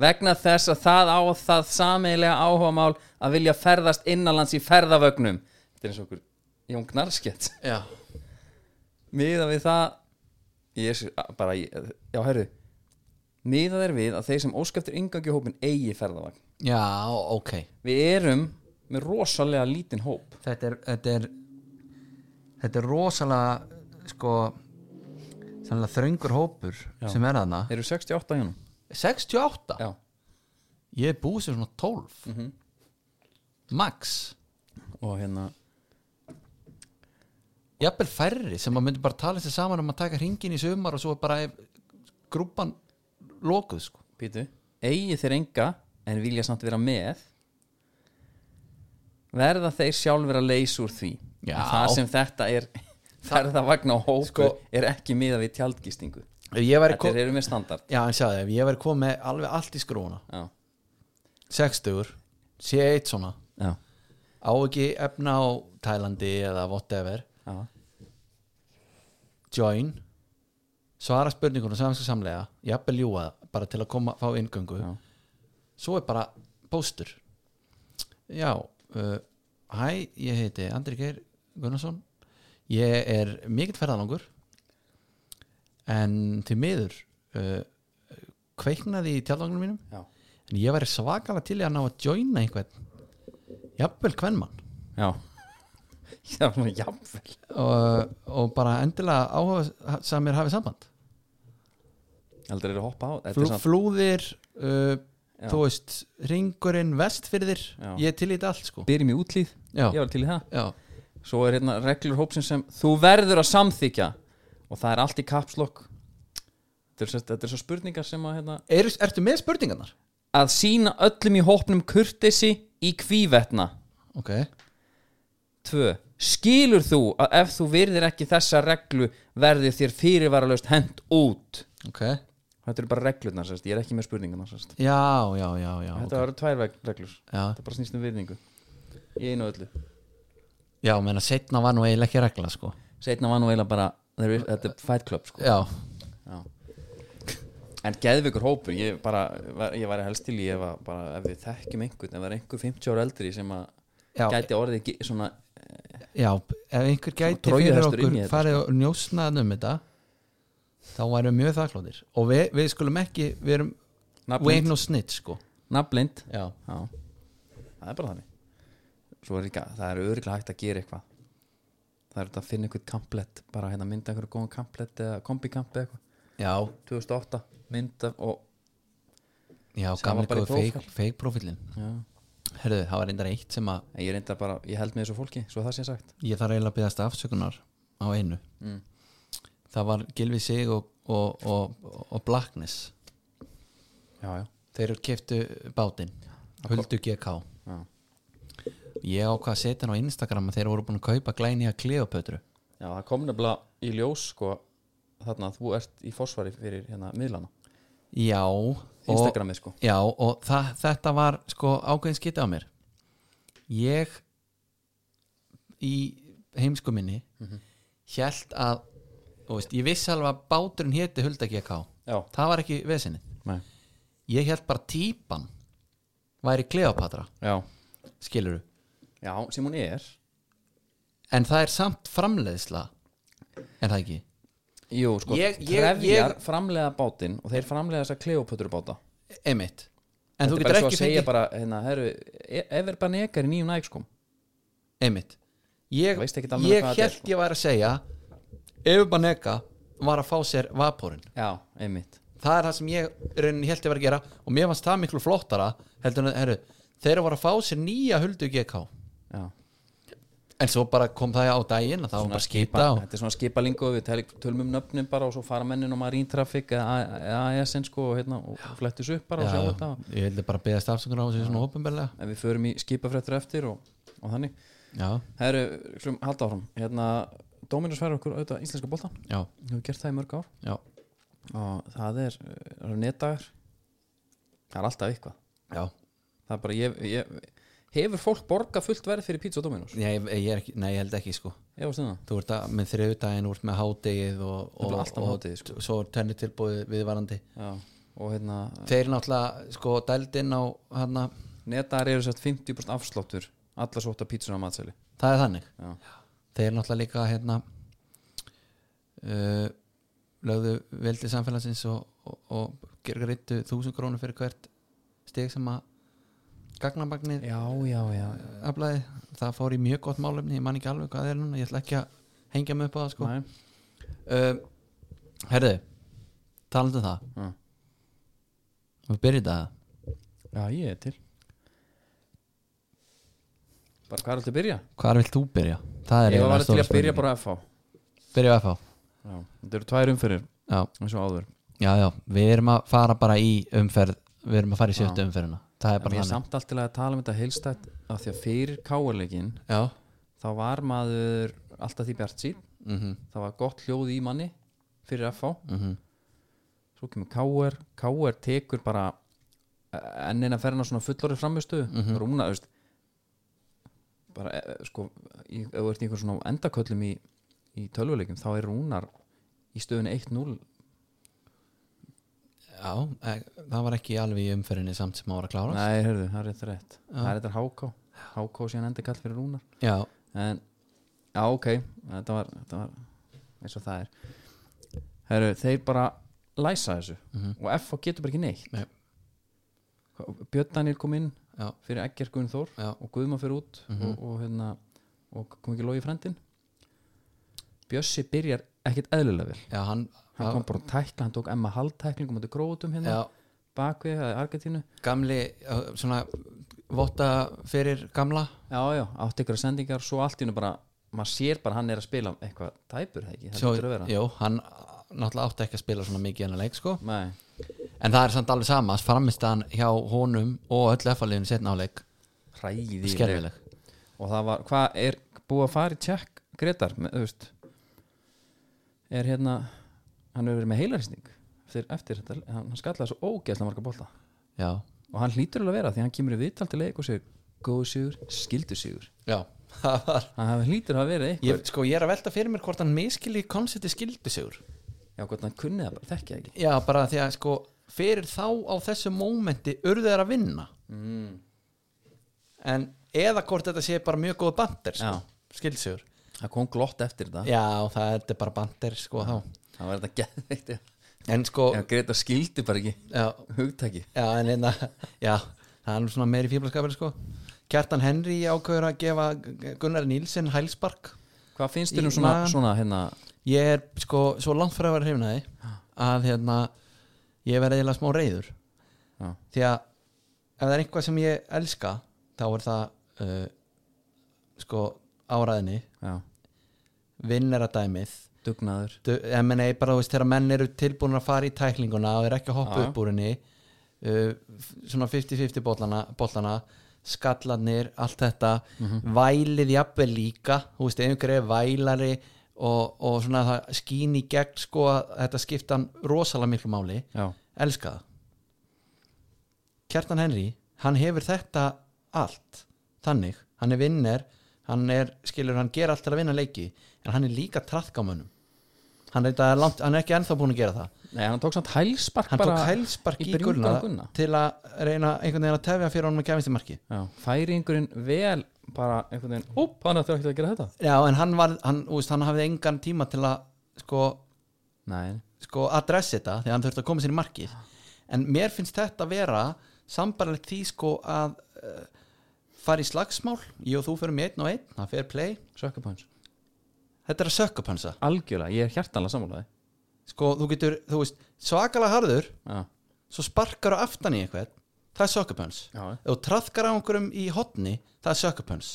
[SPEAKER 2] vegna þess að það á það sameilega áhugamál að vilja ferðast innanlands í ferðavögnum þetta er eins og okkur Jón Gnarskett
[SPEAKER 3] Já,
[SPEAKER 2] miða við það ég er sér- bara, ég, já herru miða þeir við að þeir sem óskæftir yngangi hópin eigi ferðavagn
[SPEAKER 3] ok
[SPEAKER 2] við erum með rosalega lítinn hóp
[SPEAKER 3] Þetta er Þetta er, þetta er rosalega sko sannlega þröngur hópur sem er þarna
[SPEAKER 2] þeir eru 68 hjónum
[SPEAKER 3] 68?
[SPEAKER 2] hérna. já.
[SPEAKER 3] Ég er búið sem svona 12 Max
[SPEAKER 2] og hérna,
[SPEAKER 3] Jafnvel færri sem að myndi bara tala sér saman um að taka hringin í sumar og svo er bara grúpan lokuð sko
[SPEAKER 2] pítu eigi þeir enga en vilja samt vera með verða þeir sjálfur að leysa úr því
[SPEAKER 3] Já.
[SPEAKER 2] En það sem þetta er ferðavagn og hópur
[SPEAKER 3] Sko-
[SPEAKER 2] er ekki miða við tjaldgistingu
[SPEAKER 3] Ef ég væri
[SPEAKER 2] þetta eru með standard
[SPEAKER 3] Já, en sjáðu, ef ég væri komið með alveg allt í skrúna
[SPEAKER 2] já.
[SPEAKER 3] 60, sé eitt svona
[SPEAKER 2] Já.
[SPEAKER 3] á ekki efna á Tælandi eða whatever
[SPEAKER 2] Já.
[SPEAKER 3] join svara spurningunum samanska samlega jafnvel ljúa það, bara til að koma fá inngöngu
[SPEAKER 2] Já.
[SPEAKER 3] svo er bara póstur já uh, hæ, ég heiti Andri Geir Gunnarsson ég er mikill ferðalangur en til miður uh, kveiknaði í tjálfangunum mínum
[SPEAKER 2] Já.
[SPEAKER 3] en ég væri svakalega til í að ná að joina einhvern jafnvel kvennmann
[SPEAKER 2] já já, jafnvel
[SPEAKER 3] og, og bara endilega áhuga sem mér hafi samband
[SPEAKER 2] heldur þeir að hoppa á þetta
[SPEAKER 3] Flú,
[SPEAKER 2] er samt,
[SPEAKER 3] flúðir uh,
[SPEAKER 2] Já.
[SPEAKER 3] þú veist, ringurinn vestfyrðir
[SPEAKER 2] Já.
[SPEAKER 3] ég er til í þetta allt sko
[SPEAKER 2] byrjum í útlýð,
[SPEAKER 3] já,
[SPEAKER 2] ég var til í það
[SPEAKER 3] já,
[SPEAKER 2] svo er hérna reglur hópsins sem þú verður að samþykja og það er allt í kapslokk þetta er svo, þetta er svo spurningar sem að hérna,
[SPEAKER 3] Er, ertu með spurningarnar?
[SPEAKER 2] að sína öllum í hópnum kurtesi í kvívetna
[SPEAKER 3] ok,
[SPEAKER 2] 2. Skilur þú að ef þú virðir ekki þessa reglu verði þér fyrirvaralaust hent út
[SPEAKER 3] ok
[SPEAKER 2] Þetta eru bara reglurnar, sérst. ég er ekki með spurningarnar sérst.
[SPEAKER 3] Já, já, já, já,
[SPEAKER 2] Þetta
[SPEAKER 3] okay.
[SPEAKER 2] eru tvær reg- reglur
[SPEAKER 3] já.
[SPEAKER 2] Þetta bara snýst um virðingu Í einu og öllu
[SPEAKER 3] já menna setna var nú eiginlega ekki regla sko
[SPEAKER 2] Seinna var nú eiginlega bara þeir eru- Þetta er fight club sko
[SPEAKER 3] Já,
[SPEAKER 2] En geðveikur hópur, ég bara var, Ég væri helst til í ef, að, bara, ef við þekkjum einhvern Ef það er einhver 50 ára eldri sem að
[SPEAKER 3] já,
[SPEAKER 2] gæti orðið ge- svona
[SPEAKER 3] já Ef einhver gæti
[SPEAKER 2] trójuhestur inn
[SPEAKER 3] fyrir
[SPEAKER 2] í
[SPEAKER 3] okkur
[SPEAKER 2] þetta,
[SPEAKER 3] farið og njósnaðan um þetta þá værum við mjög þakklóðir og við, við skulum ekki, við erum we ain't
[SPEAKER 2] nafnlind,
[SPEAKER 3] no snitch sko
[SPEAKER 2] nafnlind.
[SPEAKER 3] Já,
[SPEAKER 2] Já, það er bara þannig Svo er líka, það er örgulega hægt að gera eitthvað Það er hægt að finna einhvern kamplet bara hérna mynda einhverju góðan kamplet eða kombikamp eða eitthvað
[SPEAKER 3] já,
[SPEAKER 2] 2008 mynda og Sem
[SPEAKER 3] já
[SPEAKER 2] var
[SPEAKER 3] gamli
[SPEAKER 2] bara í
[SPEAKER 3] góð fake,
[SPEAKER 2] prófkall.
[SPEAKER 3] fake profilin
[SPEAKER 2] já.
[SPEAKER 3] Herðu, það var reyndar eitt sem að
[SPEAKER 2] En ég reynda bara, ég held með þessu fólki svo það sé sagt
[SPEAKER 3] ég þarf eiginlega að byggast afsökunar á einu
[SPEAKER 2] Mm.
[SPEAKER 3] það var Gilvi Sig og, og, og, og Blackness
[SPEAKER 2] Já, já,
[SPEAKER 3] þeir keftu bátinn Huldu GK
[SPEAKER 2] já,
[SPEAKER 3] ég ákvað að setja hann á Instagram að þeir voru búin að kaupa glæni að Kleopötru
[SPEAKER 2] já það kom nefnilega í ljós sko þarna að þú ert í fósvari fyrir hérna miðlana,
[SPEAKER 3] já og,
[SPEAKER 2] Instagramið sko
[SPEAKER 3] já, og það, þetta var sko ákveðin skita á mér ég í heimsku minni mm hélt að þú veist, ég vissi alveg að báturinn héti Hulda GK
[SPEAKER 2] Já,
[SPEAKER 3] það var ekki vesinni
[SPEAKER 2] nei,
[SPEAKER 3] ég held bara típan væri Kleopatra,
[SPEAKER 2] já
[SPEAKER 3] skilur
[SPEAKER 2] Já, sem hún er
[SPEAKER 3] en það er samt framleiðsla en það ekki
[SPEAKER 2] Jú, sko,
[SPEAKER 3] Ég- ég-
[SPEAKER 2] trefjar
[SPEAKER 3] ég-
[SPEAKER 2] framlega bátinn og þeir framlega þess að kleopötur báta
[SPEAKER 3] einmitt en þú
[SPEAKER 2] Þetta er
[SPEAKER 3] getur
[SPEAKER 2] bara svo
[SPEAKER 3] ekki
[SPEAKER 2] að segja
[SPEAKER 3] fengið
[SPEAKER 2] bara, hérna, herru, Ever Banega er í nýjum næg sko
[SPEAKER 3] einmitt ég,
[SPEAKER 2] Þú veist ekkert alveg
[SPEAKER 3] ég
[SPEAKER 2] hvað þetta er, sko.
[SPEAKER 3] held ég væri að segja ef Banega var að fá sér vaporinn
[SPEAKER 2] Já, einmitt
[SPEAKER 3] það er það sem ég raunin held ég var að gera og mér fannst það miklu flottara heldur en að heru, þeir voru að fá sér nýja huldu GK
[SPEAKER 2] Já,
[SPEAKER 3] en svo bara kom það á daginn að það var bara að skita og,
[SPEAKER 2] Þetta er svona skipalingu við tel- tölum um nöfnin bara og svo fara mennin og Marine Traffic eða A- eða ASN sko og, hérna, og flettis upp bara og sjá þetta
[SPEAKER 3] já, ég heldur bara að beðast afsökunar á þessu svona ofinbeglega
[SPEAKER 2] en við förum í skipafrættur eftir og, og þannig
[SPEAKER 3] já,
[SPEAKER 2] Herru, slum, halda áfram hérna, Dominus færa okkur auðvitað íslenska bolta
[SPEAKER 3] já,
[SPEAKER 2] við hefum gert það í mörg ár
[SPEAKER 3] já
[SPEAKER 2] og það er, það er netdagar það er alltaf eitthvað
[SPEAKER 3] Já,
[SPEAKER 2] það er bara, ég, ég hefur fólk borga fullt verð fyrir pizza og Dominus?
[SPEAKER 3] ég, ég er ekki, nei ég held ekki sko
[SPEAKER 2] Ég var stundin
[SPEAKER 3] Þú ert að, með þriðudaginn, þú ert með hádegið og,
[SPEAKER 2] Það
[SPEAKER 3] og,
[SPEAKER 2] er alltaf
[SPEAKER 3] og
[SPEAKER 2] hádegið, sko.
[SPEAKER 3] svo er tönni tilbúið viðvarandi
[SPEAKER 2] Já, og hérna
[SPEAKER 3] Þeir náttúrulega sko dæld inn á hérna, hana,
[SPEAKER 2] Netar eru sérst 50% afsláttur alla sóta pítsuna á matseli
[SPEAKER 3] það er þannig
[SPEAKER 2] Já.
[SPEAKER 3] Þeir náttúrulega líka hérna uh, lögðu veldi samfélagsins og, og, og gergar yttu þúsund krónu fyrir hvert stig sem að gagnamagnið
[SPEAKER 2] Já, já, já
[SPEAKER 3] aflaði, það fór í mjög gott málefni ég man ekki alveg hvað það er núna, ég ætla ekki að hengja mig upp á það sko
[SPEAKER 2] Nei.
[SPEAKER 3] uh, Herðu talandi um það
[SPEAKER 2] Mm.
[SPEAKER 3] Við byrjum þetta
[SPEAKER 2] Já, ég er til Bara hvað er alltaf að byrja?
[SPEAKER 3] Hvar vilt þú byrja? Það
[SPEAKER 2] Ég var
[SPEAKER 3] er eiginlega
[SPEAKER 2] alveg til
[SPEAKER 3] stóra
[SPEAKER 2] að byrja
[SPEAKER 3] spurningin.
[SPEAKER 2] bara á FH
[SPEAKER 3] Byrja á FH
[SPEAKER 2] já. Þetta eru tvær umfyrir
[SPEAKER 3] já,
[SPEAKER 2] eins og áður
[SPEAKER 3] já, já, við erum að fara bara í umferð Við erum að fara í sjöttu
[SPEAKER 2] Já.
[SPEAKER 3] umferðina Það er
[SPEAKER 2] En
[SPEAKER 3] bara
[SPEAKER 2] ég er
[SPEAKER 3] þannig
[SPEAKER 2] samt allt til að tala um þetta heilstætt af því að fyrir káarleikin
[SPEAKER 3] Já,
[SPEAKER 2] þá var maður alltaf því bjart sín
[SPEAKER 3] mm -hmm,
[SPEAKER 2] það var gott hljóð í manni fyrir FH
[SPEAKER 3] Mhm.
[SPEAKER 2] svo kemur KR, KR tekur bara eh, enn eina ferðina svona fullorið framistu mm
[SPEAKER 3] Mhm.
[SPEAKER 2] -hmm. rúna, þú veist bara, eh, sko, í, ef þú ert í einhver svona endaköllum í, í tölvuleikum þá er rúnar í stöðunni 1-0
[SPEAKER 3] já e, Það var ekki alveg í umferðinni samt sem að voru að klára
[SPEAKER 2] nei, heyrðu, það er rétt rétt
[SPEAKER 3] Ah.
[SPEAKER 2] það er þetta HK, HK síðan endakall fyrir rúnar
[SPEAKER 3] Já,
[SPEAKER 2] en, já, ok þetta var, þetta var eins og það er heyrðu, þeir bara læsa þessu
[SPEAKER 3] Mhm.
[SPEAKER 2] og FH getur bara ekki neitt
[SPEAKER 3] Nei.
[SPEAKER 2] Björn Daniel kom inn
[SPEAKER 3] já,
[SPEAKER 2] fyrir Egger Guðn Þór
[SPEAKER 3] já, Mhm.
[SPEAKER 2] og Guðma fyrir út og, og, hérna, og kom ekki logi frendin Bjössi byrjar ekkit eðlilega vel
[SPEAKER 3] já, hann
[SPEAKER 2] hann kom bara að tækla, hann tók Emma Hall tæklingum og þetta gróðutum hérna
[SPEAKER 3] Já,
[SPEAKER 2] bakvið að Argentínu
[SPEAKER 3] gamli, uh, svona Votta fyrir gamla
[SPEAKER 2] já, já, átti ykkur sendingar svo allt í hennu bara, maður sér bara hann er að spila eitthvað tæpur, það ekki, það
[SPEAKER 3] Svo,
[SPEAKER 2] getur að vera
[SPEAKER 3] jú, hann uh, náttúrulega átti ekki að spila svona mikið en að leik sko
[SPEAKER 2] Nei,
[SPEAKER 3] En það er samt alveg sama framistaðan hjá honum og öll F-liðinu setna áleik
[SPEAKER 2] hræðileg
[SPEAKER 3] skerfileg
[SPEAKER 2] og það var, hvað er búið að fara í tjekk Gretar, með, þú veist er hérna hann hefur verið með heilaristning eftir, eftir þetta, hann hann skallaði svo ógeðslega marga bolta
[SPEAKER 3] já,
[SPEAKER 2] og hann hlýtur alveg að vera því hann kemur í viðtal til leik og segir góðu sigur, skildu sigur
[SPEAKER 3] já það var
[SPEAKER 2] hann hafi- hlýtur að vera eitthvað
[SPEAKER 3] Ég, sko, ég er að velta fyrir mér hvort hann miskili konsepti skildusigur
[SPEAKER 2] já, hvort hann kunni það bara, þekki það ekki
[SPEAKER 3] Já, bara því að sko fyrir þá á þessu mómenti urðu þeir að vinna mm. en eða hvort þetta sé bara mjög góð bandir sko,
[SPEAKER 2] Já.
[SPEAKER 3] skildusigur
[SPEAKER 2] það kom glott eftir þetta
[SPEAKER 3] Já, það þetta er bara bandir sko þá
[SPEAKER 2] það var þetta geðveikt já.
[SPEAKER 3] en sko,
[SPEAKER 2] já, Gretar skildi bara ekki
[SPEAKER 3] já,
[SPEAKER 2] hugtaki
[SPEAKER 3] já en einna já, það er nú svona meiri fíblaskapir sko Kjartan Henry ákveður að gefa Gunnar Nílsen hælspark
[SPEAKER 2] hvað finnst þér um
[SPEAKER 3] Í
[SPEAKER 2] svona,
[SPEAKER 3] magann.
[SPEAKER 2] svona hérna,
[SPEAKER 3] ég er sko svo langt frá að vera hrifnaði að hérna ég verði eiginlega smá reyður
[SPEAKER 2] Já.
[SPEAKER 3] því að ef það er eitthvað sem ég elska þá er það uh, sko áraðinni
[SPEAKER 2] já,
[SPEAKER 3] vinnera dæmið
[SPEAKER 2] dugnaður
[SPEAKER 3] MNA bara þú veist þegar menn eru tilbúin að fara í tæklinguna og er ekki að hoppa
[SPEAKER 2] Já.
[SPEAKER 3] upp úr henni uh, f- svona 50-50 bollana, bollana skallanir, allt þetta vælið jafnvel líka þú veist, einhverju er vælari og, og svona það skín í gegn sko að þetta skipta hann rosalega miklu máli
[SPEAKER 2] já,
[SPEAKER 3] elska það Kjartan Henry, hann hefur þetta allt, þannig hann er vinner, hann er skilur hann gera allt til að vinna leiki, en hann er líka traðkámönnum hann, er þetta langt- hann er ekki ennþá búin að gera það
[SPEAKER 2] nei, hann tók samt hælspark
[SPEAKER 3] hann
[SPEAKER 2] bara
[SPEAKER 3] tók hælspark
[SPEAKER 2] í
[SPEAKER 3] í
[SPEAKER 2] byrjun
[SPEAKER 3] Gunna
[SPEAKER 2] bara Gunna.
[SPEAKER 3] til að reyna einhvern veginn að tefja fyrir honum að kemist í marki
[SPEAKER 2] já, færi einhverjinn vel bara einhvern veginn, úp, hann ætti ekki að gera þetta
[SPEAKER 3] já, en hann var, hann, úst, hann hafði engan tíma til að sko
[SPEAKER 2] nei,
[SPEAKER 3] sko adressa þetta þegar hann þurfti að koma sér í markið en mér finnst þetta vera sambarlegt því sko að uh, fara í slagsmál ég og þú fyrir með einn og einn, það fer play
[SPEAKER 2] sökkupans
[SPEAKER 3] þetta er að sökkapansa,
[SPEAKER 2] algjörlega, ég er hjartanlega sammálaði
[SPEAKER 3] sko þú getur þú veist, svakalega harður
[SPEAKER 2] já,
[SPEAKER 3] svo sparkar á aftan í eitthvað það er sökkapans,
[SPEAKER 2] já,
[SPEAKER 3] ef þú trafkar á einhverjum í hotni, það er sökkapans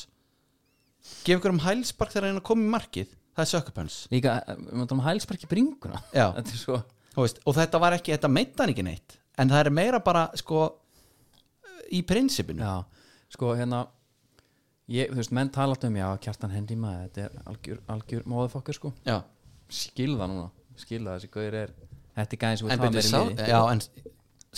[SPEAKER 3] gef einhverjum hælspark þegar hann er að koma í markið, það er sökkapans
[SPEAKER 2] líka, eh, við mátum hælspark í bringuna
[SPEAKER 3] Já.
[SPEAKER 2] þetta er svo,
[SPEAKER 3] Þú veist, og þetta var ekki, þetta meittan ekki neitt en það er meira bara sko í prinsipinu
[SPEAKER 2] já, sko hérna ég, þú veist, menn tala alltaf um já, kjartan hendi maður, þetta er algjör, algjör móðufokkur sko,
[SPEAKER 3] Já.
[SPEAKER 2] skilða núna skilða þessi gauður er þetta er gæðin sem
[SPEAKER 3] en
[SPEAKER 2] við
[SPEAKER 3] byrju, sá, eh,
[SPEAKER 2] tala með
[SPEAKER 3] já, en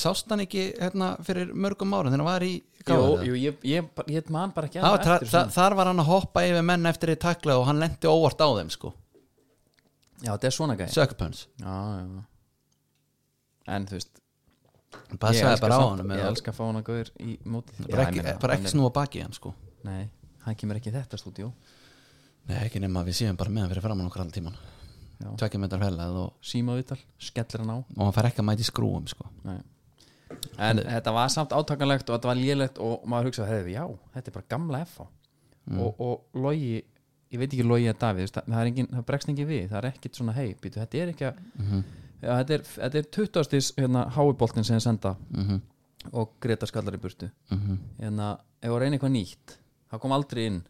[SPEAKER 3] sást hann ekki hérna, fyrir mörgum ára þegar hann var í
[SPEAKER 2] Jú,
[SPEAKER 3] KR?
[SPEAKER 2] jú, ég, ég, ég man bara ekki
[SPEAKER 3] Það var,
[SPEAKER 2] annað
[SPEAKER 3] tra,
[SPEAKER 2] eftir
[SPEAKER 3] þa,
[SPEAKER 2] svona.
[SPEAKER 3] þar var hann að hoppa yfir menn eftir því takla og hann lendi óvart á þeim sko
[SPEAKER 2] Já, þetta er svona gæði
[SPEAKER 3] Sökkupöns,
[SPEAKER 2] Já, já En þú veist
[SPEAKER 3] passaði bara á
[SPEAKER 2] samt-
[SPEAKER 3] hann
[SPEAKER 2] Ég elska að fá hann að gauður í mótið
[SPEAKER 3] bara ekki, bara ekki snúa baki í hann sko
[SPEAKER 2] Nei, hann kemur ekki í þetta stúdíó
[SPEAKER 3] Nei, ekki nema að við séum bara með hann fyrir framann okkur
[SPEAKER 2] Já.
[SPEAKER 3] allan tíman Tvekkja metrar felað og,
[SPEAKER 2] Símavital, skellir hann á
[SPEAKER 3] og hann fær ekki að mæti skrúum sko
[SPEAKER 2] Nei. En þetta var samt átakanlegt og þetta var lélegt og maður hugsaði, hefði, já, þetta er bara gamla FH
[SPEAKER 3] Mm.
[SPEAKER 2] og, og logi ég veit ekki logi að Davíð, þú veist, það, það, er engin, það bregst engin við, það er ekkit svona hei, býtu, þetta er ekki að
[SPEAKER 3] Mhm.
[SPEAKER 2] já, þetta, er, þetta er 20. Hérna, háiboltin sem ég senda
[SPEAKER 3] Mhm.
[SPEAKER 2] og Greta skallar í burtu
[SPEAKER 3] Mhm.
[SPEAKER 2] hérna, ef það reyna eitthvað nýtt það kom aldrei inn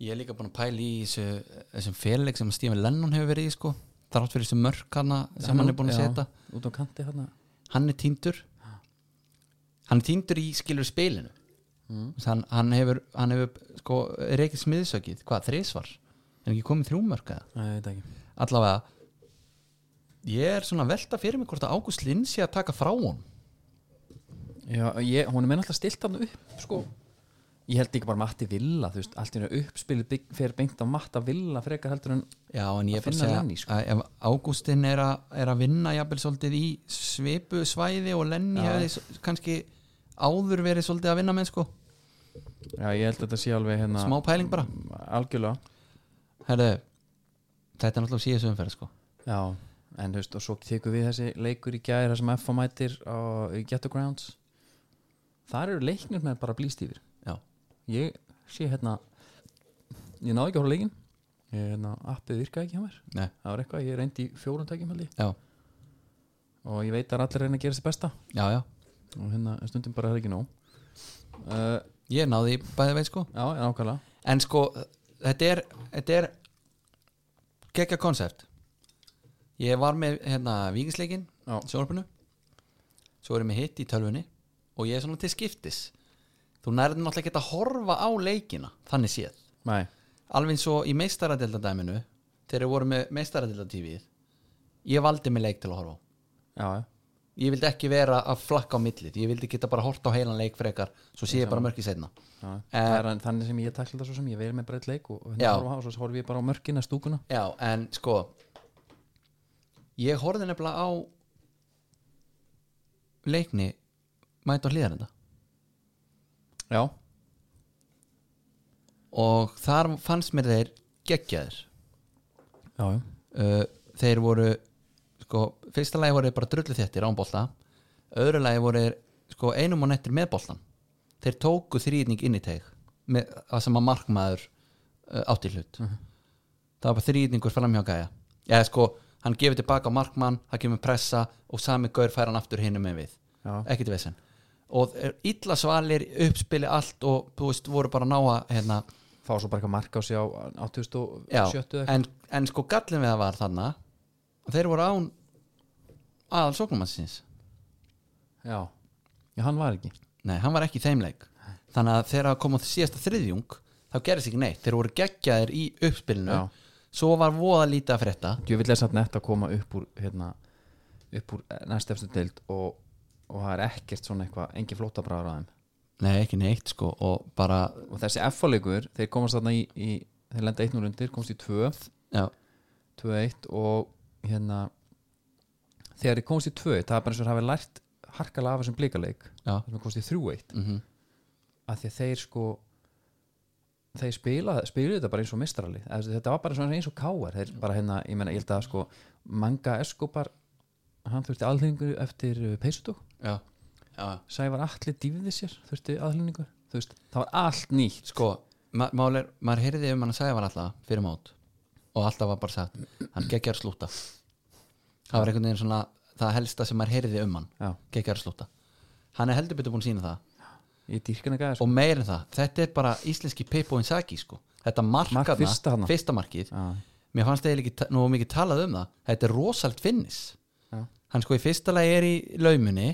[SPEAKER 3] Ég er líka búin að pæla í þessu, þessum félag sem Stephen Lennon hefur verið í sko þrátt fyrir þessu mörk hana sem hann er búin að
[SPEAKER 2] Já,
[SPEAKER 3] setja
[SPEAKER 2] út á kanti hérna
[SPEAKER 3] hann er týndur hann er týndur í skilur spilinu mm. hann, hann hefur, hann hefur sko, reikið smiðsökið, hvað, þrísvar en ekki komið þrjúmörka
[SPEAKER 2] Nei, ég veit ekki
[SPEAKER 3] allavega ég er svona að velta fyrir mig hvort að Ágúst Lind sé að taka frá hún
[SPEAKER 2] Já, ég, hún er með alltaf stilt hann upp sko. ég held ekki bara Matti Villa þú veist, allt í hennu uppspilið bygg- fer beint á Matta Villa frekar heldur en
[SPEAKER 3] já, en
[SPEAKER 2] Að
[SPEAKER 3] ég er bara að
[SPEAKER 2] finna
[SPEAKER 3] segja
[SPEAKER 2] Lenny, sko.
[SPEAKER 3] að ef Ágústin er, að- er að vinna jafnvel svolítið í svipu svæði og Lenny hefði s- kannski áður verið svolítið að vinna með sko
[SPEAKER 2] Já, ég held að þetta sé alveg hérna
[SPEAKER 3] smá pæling bara
[SPEAKER 2] algjörlega
[SPEAKER 3] Herðu, þetta er náttúrulega síðast umferð sko
[SPEAKER 2] Já, en þú veist, og svo tekur við þessi leikur í gæri þar sem FH mætir á í Get the Grounds Þar eru leiknir með bara blíst yfir
[SPEAKER 3] já
[SPEAKER 2] Ég sé hérna ég náði ekki að hóra leikin ég, hérna, appið virkaði ekki hjá mér
[SPEAKER 3] Nei.
[SPEAKER 2] það var eitthvað, ég reyndi í fjórun tækjum held ég
[SPEAKER 3] Já,
[SPEAKER 2] og ég veit að allir reyna að gera sér besta
[SPEAKER 3] já, já
[SPEAKER 2] og hérna en stundum bara er ekki nóg uh,
[SPEAKER 3] Ég náði í bæði veit sko
[SPEAKER 2] Já, nákvæmlega
[SPEAKER 3] En sko, þetta er Þetta er Gekka konsept Ég var með hérna vikingsleikin
[SPEAKER 2] Já.
[SPEAKER 3] Sjónarpinu Svo erum við hitt í tölvunni Og ég er svona til skiptis Þú nærðir náttúrulega ekki að horfa á leikina Þannig séð
[SPEAKER 2] Nei,
[SPEAKER 3] alveg eins og í meistaradeldadæminu þegar við vorum með meistaradeldatífið ég valdi mig leik til að horfa á.
[SPEAKER 2] já, já.
[SPEAKER 3] ég vildi ekki vera að flakka á millið ég vildi geta bara horta á heilan leik frekar svo sé ég bara mörkið setna
[SPEAKER 2] Já, það er þannig sem ég takla það svo sem ég verið með breytt leik og, og,
[SPEAKER 3] Já.
[SPEAKER 2] hérna horfa á, og svo horfi ég bara á mörkina stúkuna
[SPEAKER 3] já, en sko ég horfði nefnilega á leikni mæta á hlýðarenda
[SPEAKER 2] já,
[SPEAKER 3] og þar fannst mér þeir geggjaðir
[SPEAKER 2] já, já,
[SPEAKER 3] uh, þeir voru sko, fyrsta lagi voru þeir bara drullu þettir án bolta öðru lagi voru þeir sko, einum og nettir með boltan þeir tóku þrýning inn í teig með, það sem að markmaður uh, átti í hlut það var bara þrýningur fram hjá gæja eða sko, hann gefur tilbaka á markmann það kemur pressa og sami gaur fær hann aftur hinum með við,
[SPEAKER 2] Já.
[SPEAKER 3] ekkert vesen og þeir- illa svalir uppspili allt og þú veist, voru bara að ná að hérna,
[SPEAKER 2] fá svo bara eitthvað mark á sig á
[SPEAKER 3] Já,
[SPEAKER 2] 87 eða
[SPEAKER 3] en, en sko gallin við það var þarna að þeir voru án aðal sóknumannsins
[SPEAKER 2] já. já, hann var ekki
[SPEAKER 3] nei, hann var ekki í þeim leik þannig að þegar það kom á síðasta þriðjung þá gerðist ekki neitt, þeir voru geggjaðir í uppspilinu
[SPEAKER 2] Já.
[SPEAKER 3] svo var voða lítið að frétta
[SPEAKER 2] ég vil lesa netta að koma upp úr hérna, upp úr næstefstu deild og, og það er ekkert svona eitthvað engin flótabræður á þeim
[SPEAKER 3] nei, ekki neitt sko og bara,
[SPEAKER 2] og þessi F-leikur, þeir komast þarna í, í þeir lenda 1-0 undir, komst í 2
[SPEAKER 3] já,
[SPEAKER 2] 2-1 og hérna þegar þeir komst í 2 það er bara eins og þeir hafi lært harkalega af þessum blíkaleik
[SPEAKER 3] já
[SPEAKER 2] þar sem þeir komst í 3-1
[SPEAKER 3] mm
[SPEAKER 2] að því að þeir sko þeir spila, spiluðu þetta bara eins og mistrali þetta var bara svona eins og káar þeir bara hérna, ég menna, ég held að sko Manga Escobar, hann þurfti aðlýningu eftir peysutúk,
[SPEAKER 3] já, já,
[SPEAKER 2] Sævar Atli dýfði sér þurfti aðlýningu, þú veist, það var allt nýtt
[SPEAKER 3] sko ma mál er, maður heyrði um hann að segja var alltaf fyrir mót og alltaf var bara sagt hann geggjar slúta það var einhvern veginn svona það helsta sem maður heyrði um hann
[SPEAKER 2] já,
[SPEAKER 3] geggjar slúta hann er heldur betur búin að sína það
[SPEAKER 2] í dýrkana gæða sko
[SPEAKER 3] og meir en það, þetta er bara íslenski Pippo Inzaghi sko, þetta
[SPEAKER 2] Mark
[SPEAKER 3] markaðna
[SPEAKER 2] fyrsta þarna.
[SPEAKER 3] fyrsta markið,
[SPEAKER 2] já,
[SPEAKER 3] mér fannst það ekki nú mikið talað um það, þetta er rosalt finnis
[SPEAKER 2] já.
[SPEAKER 3] hann sko í fyrsta lagi er í laumunni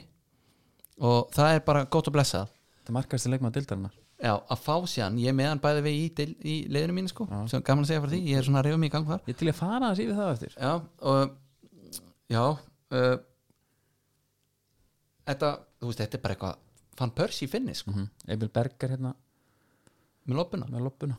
[SPEAKER 3] og það er bara gott og blessað
[SPEAKER 2] það markast í leikmaða dildarinnar
[SPEAKER 3] Já, að fá síðan, ég er með hann bæði við í, deil- í leiðinu mínu sko, sem gaman að segja frá því ég er svona að reyfa mig í gang þar
[SPEAKER 2] ég er til að fara aðeins yfir það eftir
[SPEAKER 3] Já, og já uh, þetta, þú veist, þetta er bara eitthvað fann pörs í finni sko,
[SPEAKER 2] mm Emil Berger hérna
[SPEAKER 3] með loppuna
[SPEAKER 2] með loppuna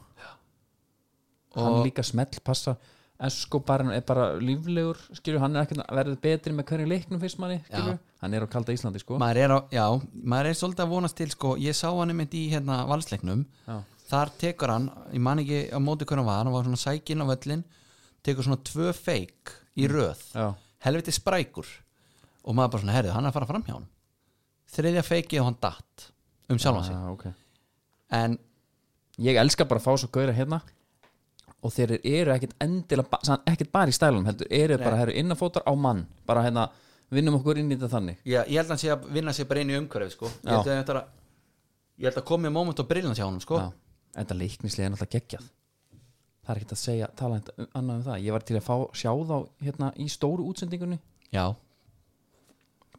[SPEAKER 3] Og-
[SPEAKER 2] hann líka smellpassa Escobar er bara líflegur skilur, hann er ekki að verða betri með hverju leiknum fyrst manni, skilur, hann er á kalda Íslandi sko.
[SPEAKER 3] maður er, á, já, maður er svolítið að vonast til sko, ég sá hann einmitt í hérna valsleiknum
[SPEAKER 2] Já.
[SPEAKER 3] þar tekur hann, ég man ekki á móti hvernig hann var, hann var svona sækinn á völlin tekur svona tvö feik í röð
[SPEAKER 2] Já.
[SPEAKER 3] helviti sprækur og maður bara svona, herðu, hann er að fara fram hjá hann þriðja feikið og hann datt um sjálfan sig,
[SPEAKER 2] Já, okay.
[SPEAKER 3] en
[SPEAKER 2] ég elska bara að fá svo gauðra hérna og þeir eru ekkit endilega ba- sann- ekkit bara í stælunum heldur, eru bara herru innafótar á mann bara hérna, vinnum okkur inn í þetta þannig
[SPEAKER 3] Já, ég held að hann sé að vinna sér bara inn í umhverfi sko. ég,
[SPEAKER 2] Já.
[SPEAKER 3] held að þetta er að, ég held að komið moment og brillan sér honum sko.
[SPEAKER 2] Já, þetta leiknislega er náttúrulega geggjað það er ekkert að segja, tala þetta um- annað um það ég var til að fá, sjá þá hérna í stóru útsendingunni
[SPEAKER 3] Já.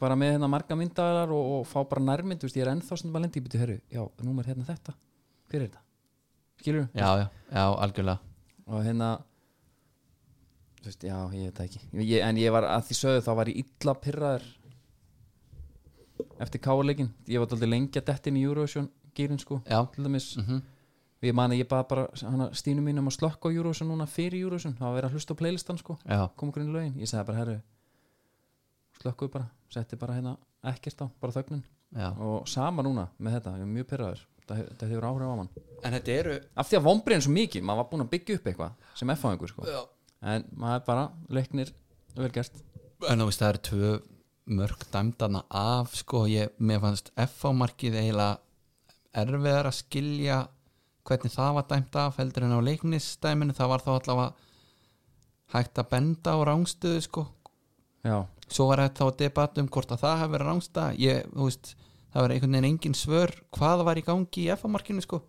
[SPEAKER 2] bara með hérna marga myndaðar og, og fá bara nærmynd, þú veist, ég er ennþá sem bara lendi í byrju, herru, já, númer hérna þetta hver er þetta, skilur
[SPEAKER 3] Já, já, já, algjörlega
[SPEAKER 2] og hérna þú veist, já, ég veit það ekki ég, en ég var, að því sögðu, þá var ég illa pyrraður eftir káleikin, ég var aldrei lengi að dettin í Eurovision gýrin, sko,
[SPEAKER 3] Já.
[SPEAKER 2] til dæmis ég man að ég bað bara hana, stínu mín um að slökka á Eurovision núna fyrir Eurovision, það var að vera að hlusta á playlistan, sko
[SPEAKER 3] Já,
[SPEAKER 2] kom okkur inn í lögin, ég sagði bara, herru slökkuðu bara, setti bara hérna ekkert á, bara þögnin
[SPEAKER 3] já.
[SPEAKER 2] og sama núna með þetta, ég er mjög pyrraður þetta, he- þetta hefur áhrif á mann
[SPEAKER 3] En þetta eru
[SPEAKER 2] af því að vombriðin svo mikið, maður var búinn að byggja upp eitthvað sem F-fáingur sko,
[SPEAKER 3] já.
[SPEAKER 2] en maður bara leiknir vel gert
[SPEAKER 3] En þú veist, það eru tvö mörg dæmdana af sko, ég, mér fannst F-markið eiginlega erfiðar að skilja hvernig það var dæmt af heldur en á leiknisdæminu, það var þá allavega hægt að benda á rángstöðu sko,
[SPEAKER 2] já,
[SPEAKER 3] svo var þetta þá debatt um hvort að það hafi verið rángsta ég, þú veist, það var einhvern veginn engin svör hvað var í gangi í F-markinu sko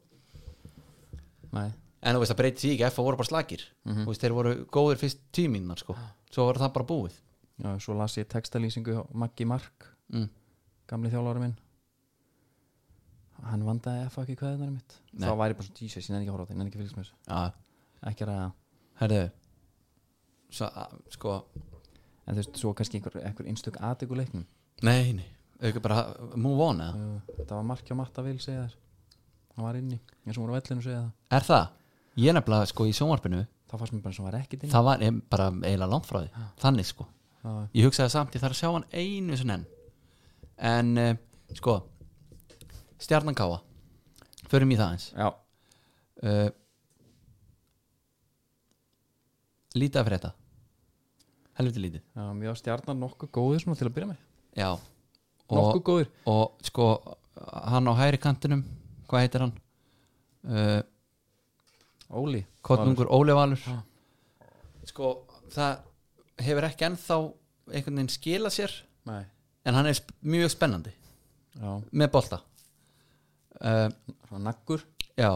[SPEAKER 2] nei,
[SPEAKER 3] en þú veist, það breyti því ekki, F voru bara slagir þú veist, þeir voru góðir fyrst tíminar sko svo var það bara búið
[SPEAKER 2] já, svo las ég textalýsingu á Maggi Mark,
[SPEAKER 3] mm.
[SPEAKER 2] gamli þjálfari minn hann vandaði F ekki kveðinari mitt
[SPEAKER 3] Nei.
[SPEAKER 2] þá væri bara svo Jesus, ég nefn ekki að horfa á þetta, ég nefn ekki að fylgst með þessu
[SPEAKER 3] ja.
[SPEAKER 2] ekki ræða
[SPEAKER 3] Herðu Svo, a- sko,
[SPEAKER 2] en þú veist, svo kannski einhver, einhver einstök aðtök úr leiknum
[SPEAKER 3] nei, nei Auðvitað bara move on eða
[SPEAKER 2] Eh, það var markja matta vil segja þær hann var inni, eins og hún var á vellinu segja það
[SPEAKER 3] Er það? Ég nefnilega, sko, í sjónvarpinu
[SPEAKER 2] það fannst mér bara eins og hann var ekkit inni
[SPEAKER 3] Það var em- bara eiginlega langt frá því Þannig, sko
[SPEAKER 2] Já.
[SPEAKER 3] Ég hugsaði samt, ég þarf að sjá hann einu sinni enn En, eh, sko Stjarnan káa Förum í það eins
[SPEAKER 2] já,
[SPEAKER 3] uh, Lítið af frétta Helviti lítið
[SPEAKER 2] já, mjög stjarnar nokkuð góður svona til að byrja með
[SPEAKER 3] Já og,
[SPEAKER 2] nokkuð góður
[SPEAKER 3] og sko Hann á hægri kantinum Hvað heitir hann? Uh,
[SPEAKER 2] Óli
[SPEAKER 3] Kotnungur Óli Valur Sko það hefur ekki ennþá einhvern veginn skila sér
[SPEAKER 2] Nei.
[SPEAKER 3] en hann er sp mjög spennandi
[SPEAKER 2] já,
[SPEAKER 3] með bolta uh,
[SPEAKER 2] svona naggur
[SPEAKER 3] Já,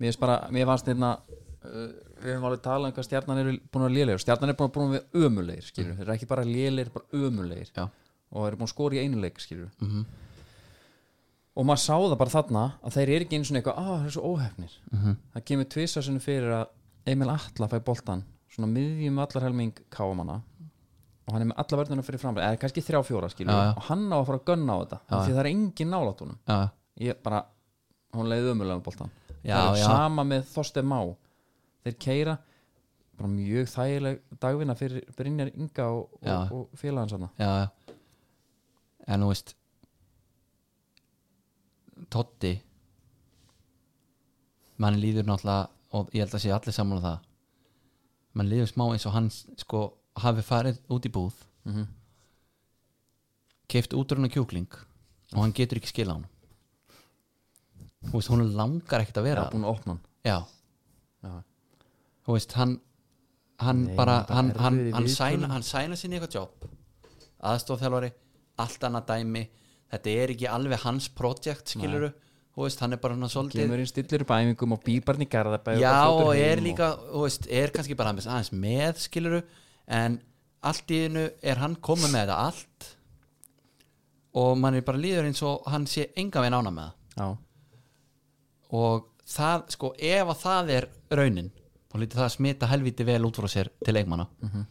[SPEAKER 2] mér finnst bara, mér fannst hérna uh, við höfum alveg talað um hvað stjarnan eru búin að lélegir stjarnan eru búin að búin að vera ömulegir skilur þeir eru ekki bara lélegir, bara ömulegir
[SPEAKER 3] já,
[SPEAKER 2] og eru búin að skora í einu leik skilur
[SPEAKER 3] Mhm.
[SPEAKER 2] og maður sá það bara þarna að þeir eru ekki einu svona eitthvað, að það er svo óhefnir
[SPEAKER 3] Mhm.
[SPEAKER 2] það kemur tvisa sinni fyrir að Emil Atla fæ boltan svona miðjum allarhelming káamanna og hann er með alla verðuna fyrir framlega eða kannski þrjá fjóra skilur
[SPEAKER 3] Já, já.
[SPEAKER 2] og hann á að fara að gunna á þetta af því það er engin nálátt honum
[SPEAKER 3] já,
[SPEAKER 2] ég bara, hún leiði ömulega um boltan
[SPEAKER 3] Já,
[SPEAKER 2] það er
[SPEAKER 3] já.
[SPEAKER 2] sama með Þorstein Má þeir keira bara mjög þægileg dagvinna fyrir Brynjar Inga og,
[SPEAKER 3] Já.
[SPEAKER 2] og, og félagans hana
[SPEAKER 3] já, já. En þú veist Totti mann líður náttúrulega og ég held að sé allir saman á það mann líður smá eins og hann sko hafi farið út í búð mm -hmm. keift útrunna kjúkling og hann getur ekki skila hann þú veist, hún langar ekkert að
[SPEAKER 2] Já,
[SPEAKER 3] vera
[SPEAKER 2] búin að opna hann
[SPEAKER 3] Já
[SPEAKER 2] Já.
[SPEAKER 3] Þú veist, hann hann
[SPEAKER 2] Nei,
[SPEAKER 3] bara,
[SPEAKER 2] þetta
[SPEAKER 3] hann,
[SPEAKER 2] erfiði
[SPEAKER 3] hann, hann,
[SPEAKER 2] viðtölum.
[SPEAKER 3] sæna, hann sæna sinni eitthvað jobb aðstofþjálfari, allt annað dæmi þetta er ekki alveg hans projekt skiluru, þú veist, hann er bara hann svolítið,
[SPEAKER 2] kemur inn stillir upp æfingum og býbarn í garðabæ
[SPEAKER 3] já
[SPEAKER 2] bara fljótur
[SPEAKER 3] og
[SPEAKER 2] heim
[SPEAKER 3] er líka þú veist, er kannski bara aðeins- aðeins með skiluru, en allt í einu er hann komið með þetta allt og mann er bara líður eins og hann sé enga veginn ána með það
[SPEAKER 2] já,
[SPEAKER 3] og það, sko, ef að það er raunin, þá lítið það að smita helviti vel út frá sér til leikmanna
[SPEAKER 2] Mhm.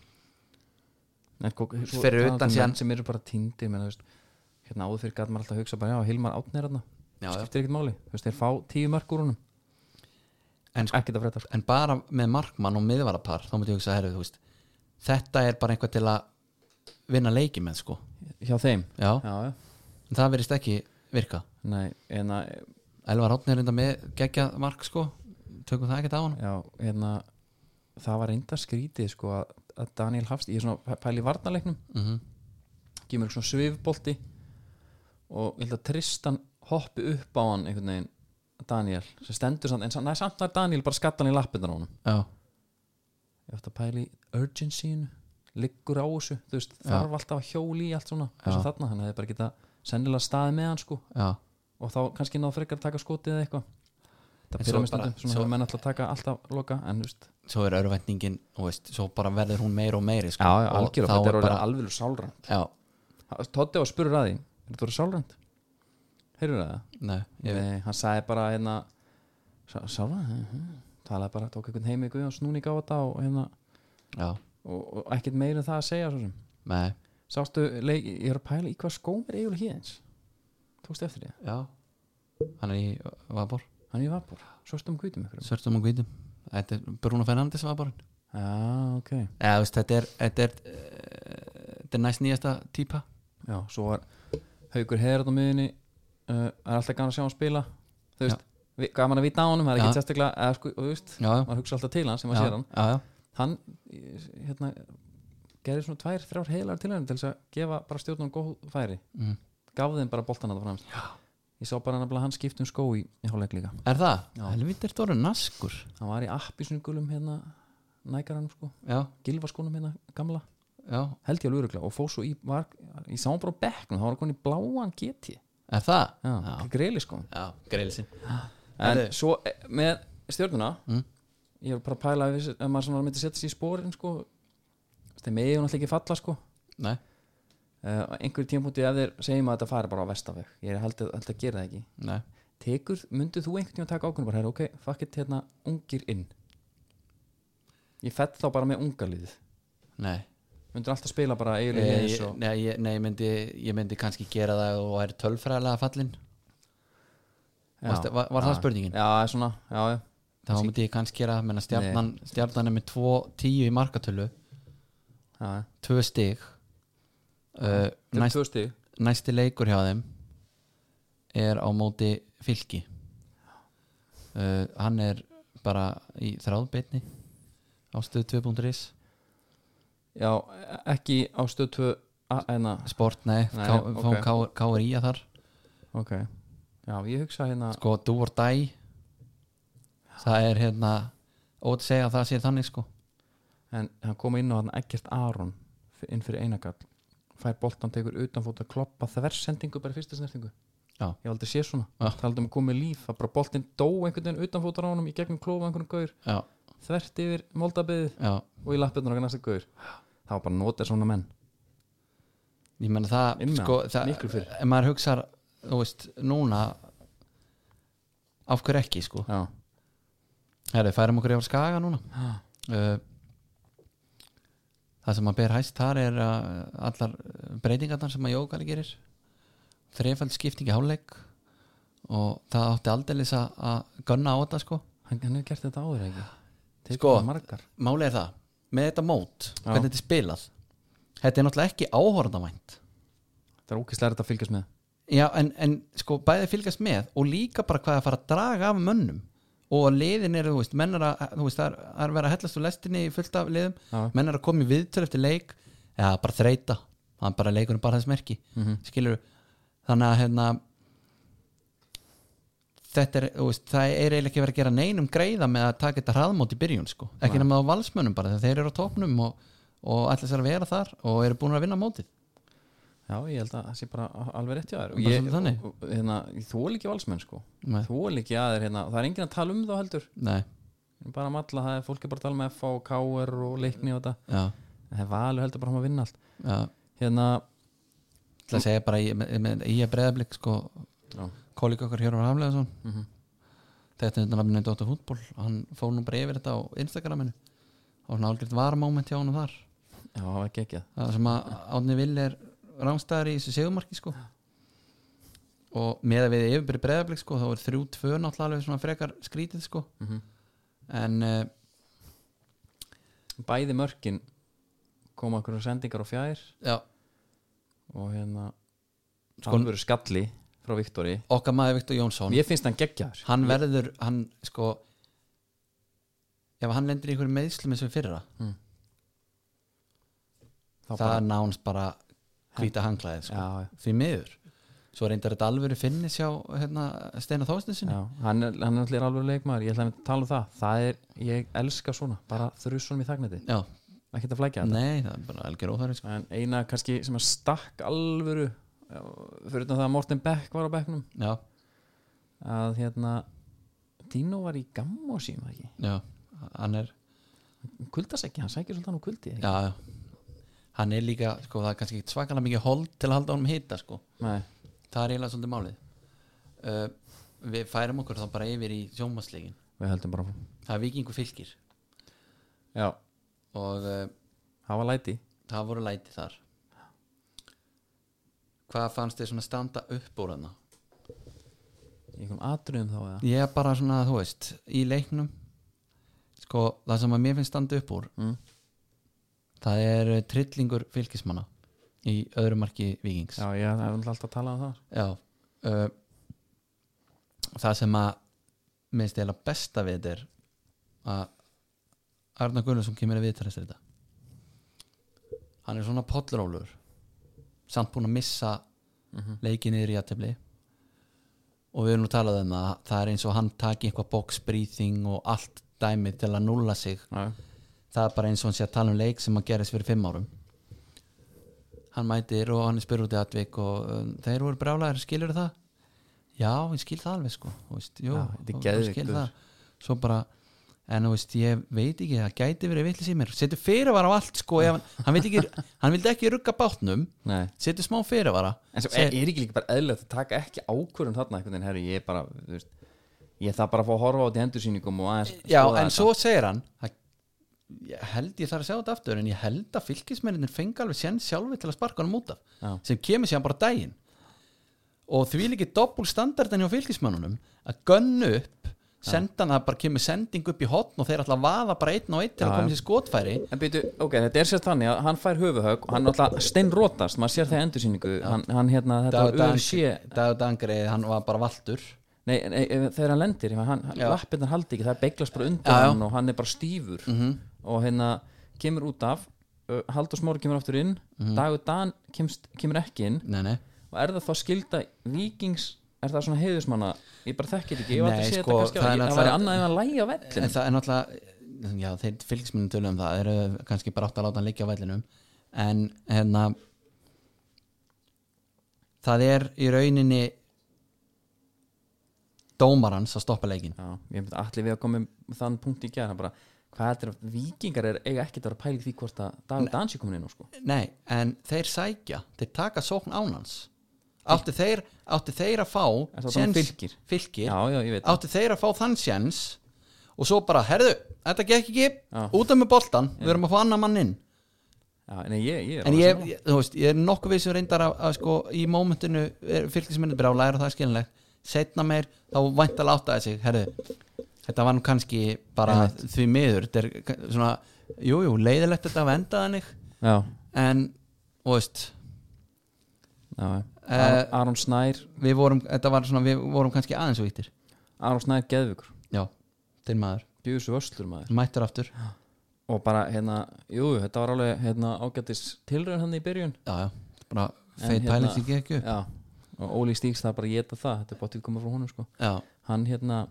[SPEAKER 2] en kók, svo,
[SPEAKER 3] Fyrir
[SPEAKER 2] það er
[SPEAKER 3] utan
[SPEAKER 2] menn
[SPEAKER 3] síðan-
[SPEAKER 2] sem eru bara týndi menn, þú veist, hérna áður fyrir gæt maður alltaf að hugsa bara já, Hilmar Átnir hérna
[SPEAKER 3] Já, já.
[SPEAKER 2] skiptir ekkert máli, þú veist, þeir fá tíu mörg úr honum
[SPEAKER 3] en, sko,
[SPEAKER 2] ekkert að frétta sko.
[SPEAKER 3] en bara með markmann og miðvarapar þá myndi ég hugsa, herru, þú veist þetta er bara eitthvað til að vinna leiki með, sko,
[SPEAKER 2] hjá þeim
[SPEAKER 3] já,
[SPEAKER 2] já, já.
[SPEAKER 3] en það verist ekki virka
[SPEAKER 2] Nei, hérna, en að
[SPEAKER 3] Elvar Átni er enda með geggja mark, sko tökum það ekkert á hann
[SPEAKER 2] Já, hérna það var reynda skrítið sko að að Daniel Hafst, ég er svona að pæla í varnaleiknum
[SPEAKER 3] mm
[SPEAKER 2] gefur mér svona svifbolti og ég held að Tristan hoppi upp á hann einhvern veginn Daniel, sem stendur samt en samt- nei, samt var Daniel bara skattan í lappindan á honum
[SPEAKER 3] já,
[SPEAKER 2] ég ætti að pæla í urgencyinu liggur á þessu, þú veist, þarf alltaf að hjóli í allt svona, eins og þarna, hann hefði bara geta sennilega staðið með hann sko
[SPEAKER 3] já,
[SPEAKER 2] og þá kannski náðu frekar að taka skotið eða eitthvað
[SPEAKER 3] En
[SPEAKER 2] það
[SPEAKER 3] svo
[SPEAKER 2] fyrir með
[SPEAKER 3] bara-
[SPEAKER 2] stundum, svona
[SPEAKER 3] svo-
[SPEAKER 2] hefur menn alltaf að taka alltaf loka, en þú veist
[SPEAKER 3] svo er örvendingin og veist, svo bara verður hún meiri og meiri, sko
[SPEAKER 2] Já, já,
[SPEAKER 3] og
[SPEAKER 2] algjörlega,
[SPEAKER 3] þá
[SPEAKER 2] þetta er
[SPEAKER 3] er
[SPEAKER 2] orðið
[SPEAKER 3] bara,
[SPEAKER 2] alveg sálrænt
[SPEAKER 3] já,
[SPEAKER 2] Tótti var að spurur að því, er þetta orðið sálrænt? Heyrðu það?
[SPEAKER 3] nei, ég veit
[SPEAKER 2] Nei, hann sagði bara hérna sá- Sálrænt? mhm, mhm. Talaði bara, tók einhvern heimi ykkur og snúning á þetta og hérna
[SPEAKER 3] já,
[SPEAKER 2] og, og ekkert meira en það að segja svo sem
[SPEAKER 3] nei,
[SPEAKER 2] Sástu, leik, ég er að pæla í hvað skóm er eiginlega híðins Tókstu eftir því,
[SPEAKER 3] já hann er í Vabor
[SPEAKER 2] hann er í vapur, svörstum hvítum ykkur
[SPEAKER 3] Svörtum og hvítum Þetta er Bruno Fernandes var bara
[SPEAKER 2] Já, ok
[SPEAKER 3] Eða, þú veist, þetta er þetta er, eh, þetta er næst nýjasta típa
[SPEAKER 2] Já, svo var Haukur Heðrat á miðunni uh, er alltaf gaman að sjá hann spila Þú veist, vi- gaman að vita á honum, það er
[SPEAKER 3] Já.
[SPEAKER 2] ekki sérstaklega eða sko, þú veist,
[SPEAKER 3] Já, já,
[SPEAKER 2] maður hugsa alltaf til hans sem maður
[SPEAKER 3] já,
[SPEAKER 2] sér hann
[SPEAKER 3] já, já,
[SPEAKER 2] hann hérna, gerir svona tvær, þrjár heilar til til þess að gefa bara stjórnum góð færi
[SPEAKER 3] Mhm.
[SPEAKER 2] gaf þeim bara boltan að það framst ég sá bara nefnilega hann skipt um skó í, í hálfleik líka
[SPEAKER 3] Er það? Helvítið er stóru naskur
[SPEAKER 2] hann var í appisnugulum hérna nækaranum sko,
[SPEAKER 3] Já,
[SPEAKER 2] gilfaskónum hérna gamla,
[SPEAKER 3] já,
[SPEAKER 2] held ég alveg öruglega og fór svo í, var, ég sá hann bara á bekknum þá var hann konið í bláan GT
[SPEAKER 3] er það?
[SPEAKER 2] já, greili sko
[SPEAKER 3] já greilsinn
[SPEAKER 2] en
[SPEAKER 3] Herðu.
[SPEAKER 2] svo eh, með stjórnuna
[SPEAKER 3] Mm.
[SPEAKER 2] ég er bara að pæla ef ef maður svona myndi setja sér í spórin sko þeim eigi hún alltaf ekki falla sko
[SPEAKER 3] Nei,
[SPEAKER 2] uh, einhverjum tímpúti ef þeir segjum að þetta fari bara á vestaveg ég held að, held að gera það ekki
[SPEAKER 3] nei,
[SPEAKER 2] Tekur, myndu þú einhvern tíma að taka ákvörðum bara, herra, ok, fuck it, hérna, ungir inn Ég fett þá bara með unga liðið
[SPEAKER 3] Nei
[SPEAKER 2] Myndir alltaf spila bara eiginlega
[SPEAKER 3] Ég-
[SPEAKER 2] eins
[SPEAKER 3] Eh, ég-
[SPEAKER 2] og
[SPEAKER 3] Nei, ég, nei ég, myndi, ég myndi kannski gera það og er tölfræðilega fallin
[SPEAKER 2] Já.
[SPEAKER 3] Varstu- var, var það spurningin?
[SPEAKER 2] Já, svona, já, já
[SPEAKER 3] Þá myndi ég kannski gera, menna stjarnan, stjarnan er með 2-10 í markatölu
[SPEAKER 2] Já, já.
[SPEAKER 3] 2 stig uh,
[SPEAKER 2] Þeir eru
[SPEAKER 3] næst,
[SPEAKER 2] tvö stig
[SPEAKER 3] Næsti leikur hjá þeim er á móti fylki uh, Hann er bara í þráðbyrni á stöð 2.is
[SPEAKER 2] Já, e- ekki á stöð hérna. 2 enna,
[SPEAKER 3] Sport, nei,
[SPEAKER 2] Nei,
[SPEAKER 3] K-
[SPEAKER 2] ok.
[SPEAKER 3] fáum okay. KRI að þar
[SPEAKER 2] ok Já, ég hugsa hérna
[SPEAKER 3] sko do or die það er hérna ótt segja að það sé þannig sko
[SPEAKER 2] En hann kom inn á hann ekkert Aron inn fyrir einakall fær boltan, tekur utanfóta, kloppa þversendingu bara í fyrsta snertingu
[SPEAKER 3] Já.
[SPEAKER 2] Ég hef aldrei sé svona,
[SPEAKER 3] Já.
[SPEAKER 2] talaði um að koma í líf að bara boltin dó einhvern veginn utanfóta ránum í gegnum klófa einhvern gaur,
[SPEAKER 3] já,
[SPEAKER 2] þvert yfir moldabiðið
[SPEAKER 3] já.
[SPEAKER 2] og í lappirnar okkar næsta gaur Það var bara notið svona menn
[SPEAKER 3] ég menna það,
[SPEAKER 2] Inn með
[SPEAKER 3] sko,
[SPEAKER 2] hann,
[SPEAKER 3] það
[SPEAKER 2] miklu fyrr.
[SPEAKER 3] ef maður hugsar, þú veist, núna af hverju ekki sko
[SPEAKER 2] Já,
[SPEAKER 3] Herri, færum okkur yfir skaga núna
[SPEAKER 2] Ha.
[SPEAKER 3] uh, það sem maður ber hæst þar er uh, allar uh, breytingarnar sem að jógali gerir þrefald skipting í hálfleik og það átti aldeilis að- að gunna á þetta sko
[SPEAKER 2] hann, hann hefur gert þetta áður ekki Tekur
[SPEAKER 3] Sko.
[SPEAKER 2] margar.
[SPEAKER 3] Málið er það, með þetta mót
[SPEAKER 2] Já.
[SPEAKER 3] hvernig þetta er spilað þetta er náttúrulega ekki áhorðavænt
[SPEAKER 2] Það er ókislega þetta að fylgjast með
[SPEAKER 3] Já, en, en sko bæði fylgast með og líka bara hvað að fara að draga af mönnum og að liðin eru, þú veist, menn er að þú veist, það er, það er verið að hellast úr lestinni í fullt af liðum,
[SPEAKER 2] Já.
[SPEAKER 3] menn er að koma í viðtöl eftir leik, eða bara þreita hann bara leikunum bara þess merki mm þannig að hérna þetta er, þú veist, það er eiginlega ekki verið að gera neinum greiða með að taka þetta hraðmót í byrjun sko, ekki nema á valsmönnum bara þegar þeir eru á topnum og, og allir sér að vera þar og eru búin að vinna mótið
[SPEAKER 2] Já, ég held að það sé bara a- alveg rétt hjá þér
[SPEAKER 3] Bara
[SPEAKER 2] Ég,
[SPEAKER 3] svolítið þannig.
[SPEAKER 2] og- og- hérna, ég þól ekki valsmenn sko
[SPEAKER 3] Nei.
[SPEAKER 2] Þól ekki að þeir hérna, það er enginn að tala um þá heldur
[SPEAKER 3] Nei,
[SPEAKER 2] Bara að matla það, er- fólk er bara að tala með F og KR og leikni og þetta
[SPEAKER 3] já,
[SPEAKER 2] En Það er valur heldur bara um að vinna allt
[SPEAKER 3] já
[SPEAKER 2] Hérna,
[SPEAKER 3] Það að segja bara í, með, með, í að breyðablik sko,
[SPEAKER 2] Já.
[SPEAKER 3] kollík okkar Hjörvar Hafleðason mm -hmm. þetta er nafninu Dóttar Fútból hann fór nú bara yfir þetta á Instagraminu og svona álgriðt varmóment hjá hann þar
[SPEAKER 2] já, það var ekki ekki
[SPEAKER 3] það sem að Árni Vill er rángstæðar í þessu segumarki sko og með að við yfirbyrði breyðablik sko þá er þrjú tvö náttúrulega alveg svona frekar skrítið sko en uh,
[SPEAKER 2] Bæði mörkin koma okkur sendingar og fjær
[SPEAKER 3] já,
[SPEAKER 2] og hérna
[SPEAKER 3] Sko-
[SPEAKER 2] Alvöru skalli frá Viktori
[SPEAKER 3] okkar maður Viktor Jónsson
[SPEAKER 2] Mér finnst hann geggjaður
[SPEAKER 3] hann verður, hann sko ef hann lendir í einhverju meðslum eins og í fyrra
[SPEAKER 2] Þá
[SPEAKER 3] það
[SPEAKER 2] bara-
[SPEAKER 3] er nánst bara hvita hanglaðið sko.
[SPEAKER 2] Já, já.
[SPEAKER 3] því miður svo reyndar þetta alvöru finnis hjá hérna, Steina Þóstinsson
[SPEAKER 2] Já, hann er, hann er allir alveg leikmaður, ég ætla að tala um það Það er, ég elska svona, bara þrjusunum í þagnæti
[SPEAKER 3] já,
[SPEAKER 2] Ekki að flækja þetta
[SPEAKER 3] nei, það er bara algjör óþæri sko.
[SPEAKER 2] en eina kannski sem að stakk alvöru já, fyrir utan það að Morten Beck var á bekknum
[SPEAKER 3] já,
[SPEAKER 2] að hérna Dino var í gamma og síma ekki
[SPEAKER 3] já, hann er
[SPEAKER 2] kuldas ekki, hann sækir svolítið hann úr kuldi ekki?
[SPEAKER 3] já, já hann er líka, sko, það er kannski ekkit svakalega mikið hold til að halda honum hita, sko
[SPEAKER 2] Nei,
[SPEAKER 3] það er eiginlega svolítið málið uh, við færum okkur þá bara yfir í sjómaslegin
[SPEAKER 2] við höldum bara áfram.
[SPEAKER 3] það er vikingu fylgir
[SPEAKER 2] já,
[SPEAKER 3] og uh,
[SPEAKER 2] það var læti
[SPEAKER 3] það voru læti þar hvað fannst þið svona standa upp úr hana?
[SPEAKER 2] í einhvern atriðum þá eða
[SPEAKER 3] Ég er bara svona, þú veist, í leiknum sko, það sem að mér finnst standa upp úr
[SPEAKER 2] Mm.
[SPEAKER 3] það er eh, trillingur fylgismanna í öðru marki vikings
[SPEAKER 2] já, ég hef náttúrulega alltaf að tala um það
[SPEAKER 3] Já, uh, það sem að minnst eða besta við þetta er að Arna Gunnarsson kemur að viðtala eftir þetta hann er svona pollrólur samt búin að missa mm -hmm. leikin yfir í aðtefli og við erum nú talað um að það er eins og hann taki eitthvað box breathing og allt dæmi til að nulla sig
[SPEAKER 2] já,
[SPEAKER 3] það er bara eins og hann sé að tala um leik sem að gerist fyrir fimm árum hann mætir og hann er spyr út í atvik og um, þeir voru brálaðir, skilur það? já, ég skil það alveg sko þú veist, jú,
[SPEAKER 2] Já, þetta er
[SPEAKER 3] og- og
[SPEAKER 2] geðveikt,
[SPEAKER 3] skil
[SPEAKER 2] þú
[SPEAKER 3] það. svo bara en þú veist, ég veit ekki, það gæti verið vitlis í mér setur fyrirvara á allt sko ef, hann, hann, vildi ekki, hann vildi ekki rugga bátnum
[SPEAKER 2] nei
[SPEAKER 3] setur smá fyrirvara
[SPEAKER 2] en e- sem er,
[SPEAKER 3] segir,
[SPEAKER 2] er ekki líka bara eðlilegt að taka ekki ákvörðum þarna einhvern veginn, herri, ég er bara, þú veist ég þarf bara að fá að horfa á þetta í endursýningum og aðeins
[SPEAKER 3] já,
[SPEAKER 2] skoða
[SPEAKER 3] en
[SPEAKER 2] þetta.
[SPEAKER 3] svo segir hann það ég held ég þarf að sjá þetta aftur en ég held að fylgismenninir fengi alveg sén sjálfi til að sparka hann út af
[SPEAKER 2] Já.
[SPEAKER 3] sem kemur sér bara á daginn og því líki doppul standardin hjá fylgismennunum að gönnu upp sendan að bara kemur sending upp í hotn og þeir ætla að vaða bara einn og einn til
[SPEAKER 2] Já,
[SPEAKER 3] að koma
[SPEAKER 2] já.
[SPEAKER 3] sér skotfæri
[SPEAKER 2] En byrju, ok, þetta er sérst þannig að hann fær höfuhög og hann náttúrulega steinrótast, maður sér það í endursýningu hann, hann hérna, þetta
[SPEAKER 3] Dagur
[SPEAKER 2] UFC
[SPEAKER 3] Dangri, hann var bara valdur
[SPEAKER 2] nei, nei, ef- þegar hann lendir, hann, hann,
[SPEAKER 3] Já.
[SPEAKER 2] lappirnar haldi ekki, það beiglast bara undan
[SPEAKER 3] Já, Mhm. já.
[SPEAKER 2] hann og hann er bara stífur og hérna, kemur út af uh, Haldur Smári kemur aftur inn
[SPEAKER 3] Mhm.
[SPEAKER 2] Dagur Dan kemst, kemur ekki inn
[SPEAKER 3] Nei, nei
[SPEAKER 2] og er það þá skilda vikings er það svona heiðusmanna, ég bara þekki þetta ekki ég var
[SPEAKER 3] Nei,
[SPEAKER 2] aldrei að sé
[SPEAKER 3] sko,
[SPEAKER 2] þetta kannski,
[SPEAKER 3] það er
[SPEAKER 2] það, það
[SPEAKER 3] náttúrulega-
[SPEAKER 2] væri annað en að lægja á vellin
[SPEAKER 3] En það er náttúrulega Já, þeir fylgismunum tölum það þeir eru kannski bara átt að láta hann liggja á vellinum En hérna Það er í rauninni Dómarans að stoppa leikin
[SPEAKER 2] Já, ég myndi allir við að koma með þann punkt í gæra bara, hvað þetta er að vikingar er eiga ekkert að vera að pæla í því hvort að Dagur Dans er komin inn á sko
[SPEAKER 3] Nei, en þeir sækja Þeir taka sókn ánans Áttu þeir, áttu þeir að fá
[SPEAKER 2] Er það
[SPEAKER 3] séns-
[SPEAKER 2] þannig Fylkir?
[SPEAKER 3] Fylkir
[SPEAKER 2] Já, já, ég veit
[SPEAKER 3] Áttu þeir að fá þann séns Og svo bara, herðu, þetta gekk ekki
[SPEAKER 2] Já.
[SPEAKER 3] Út af með boltan, við erum að fá annan mann inn
[SPEAKER 2] Já, en ég, ég er
[SPEAKER 3] en
[SPEAKER 2] alveg
[SPEAKER 3] ég,
[SPEAKER 2] sammála.
[SPEAKER 3] ég, þú veist, ég er nokkuð við sem reyndar að, að sko, í mómentinu fylgismennir brjálæra og það er skilinlegt setna meir, þá vænt að láta þessi herðu, þetta var nú kannski bara því miður, þetta er ka- svona jújú, jú, leiðilegt þetta að venda þannig
[SPEAKER 2] Já,
[SPEAKER 3] en, þú veist
[SPEAKER 2] já, já
[SPEAKER 3] Eh,
[SPEAKER 2] Aron- Aron Snær
[SPEAKER 3] við vorum, þetta var svona, við vorum kannski aðeins og vittir,
[SPEAKER 2] Aron Snær geðvíkur,
[SPEAKER 3] já, þinn maður
[SPEAKER 2] bjöðu svo vöslur maður
[SPEAKER 3] mættur aftur,
[SPEAKER 2] og bara, hérna, jú, þetta var alveg hérna, ágættis tilraun hann í byrjun
[SPEAKER 3] já, já bara
[SPEAKER 2] En
[SPEAKER 3] feit
[SPEAKER 2] hérna-
[SPEAKER 3] pæling sem gekk upp
[SPEAKER 2] Já, og Óli Stíks það er bara að geta það þetta er bóttið komið frá honum sko
[SPEAKER 3] já,
[SPEAKER 2] Hann, hérna,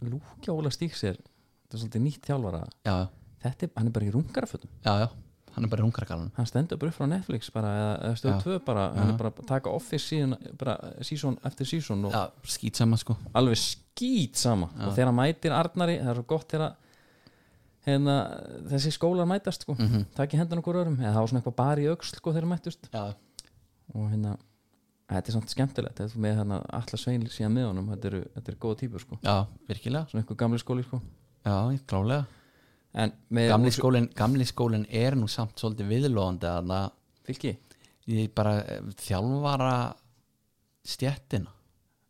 [SPEAKER 2] lúkja Óla Stíks er þetta er svolítið nýtt þjálfara
[SPEAKER 3] já, já,
[SPEAKER 2] Þetta er, hann er bara í rungarafötum
[SPEAKER 3] já, já hann er bara hungarkalan
[SPEAKER 2] hann stendur bara upp frá Netflix bara, eða, eða stöð
[SPEAKER 3] Já.
[SPEAKER 2] 2 bara, hann er bara að taka office síðan, bara season eftir season og
[SPEAKER 3] já, skýt saman sko
[SPEAKER 2] alveg skýt sama og þegar hann mætir Arnari, það er svo gott þegar hérna, þessi skólar mætast sko, mm -hmm. takk í hendan okkur örum eða það var svona eitthvað bara í auksl sko þegar þeir mættust
[SPEAKER 3] já,
[SPEAKER 2] og hérna, þetta er samt skemmtilegt þetta er með hérna alla svein síðan með honum þetta eru, þetta eru góða típur sko,
[SPEAKER 3] já, virkilega
[SPEAKER 2] svona eitthvað gamli skóli sko
[SPEAKER 3] Já, ég- klálega
[SPEAKER 2] en með
[SPEAKER 3] gamli skólinn, gamli skólinn er nú samt svolítið viðlóðandi að
[SPEAKER 2] fylki,
[SPEAKER 3] ég bara eh, þjálfara stjettina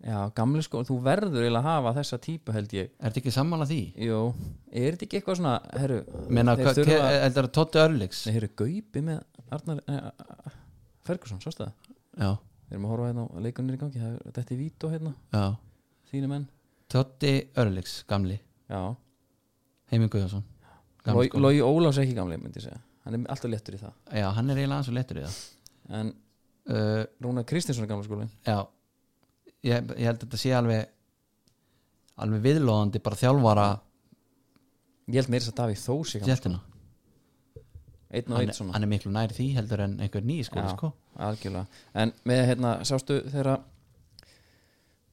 [SPEAKER 2] já gamli skóli þú verður eiginlega að hafa þessa típu held ég
[SPEAKER 3] Er þetta ekki sammála því?
[SPEAKER 2] Jó, er þetta ekki eitthvað svona herru,
[SPEAKER 3] Meina,
[SPEAKER 2] þeir
[SPEAKER 3] hva,
[SPEAKER 2] þurfa
[SPEAKER 3] þurfa... Þetta er Totti Örlíks
[SPEAKER 2] Nei, herru, Gaupi með Arnar eh, Ferguson, sástu það?
[SPEAKER 3] Já,
[SPEAKER 2] Við erum að horfa hérna á leikunir í gangi það er- Þetta er vít og hérna,
[SPEAKER 3] já
[SPEAKER 2] þínu menn
[SPEAKER 3] Totti Örlíks, gamli
[SPEAKER 2] Já,
[SPEAKER 3] Heimir Guðjónsson Gamli
[SPEAKER 2] Logi
[SPEAKER 3] skólinn.
[SPEAKER 2] Logi Ólafs er ekki gamli myndi ég segja, hann er alltaf léttur í það
[SPEAKER 3] Já, hann er eiginlega aðeins og letur í það
[SPEAKER 2] En
[SPEAKER 3] uh,
[SPEAKER 2] Rúnar Kristinsson er gamla skólin
[SPEAKER 3] Já ég, ég held að þetta sé alveg alveg viðlóðandi bara þjálfara
[SPEAKER 2] Ég held meira þess að Davíð Þórs er gamla
[SPEAKER 3] stjettina
[SPEAKER 2] Einn og
[SPEAKER 3] hann,
[SPEAKER 2] einn svona
[SPEAKER 3] hann er miklu nær því heldur en einhver nýi skóli
[SPEAKER 2] Já,
[SPEAKER 3] sko
[SPEAKER 2] algjörlega en með hérna, sástu þegar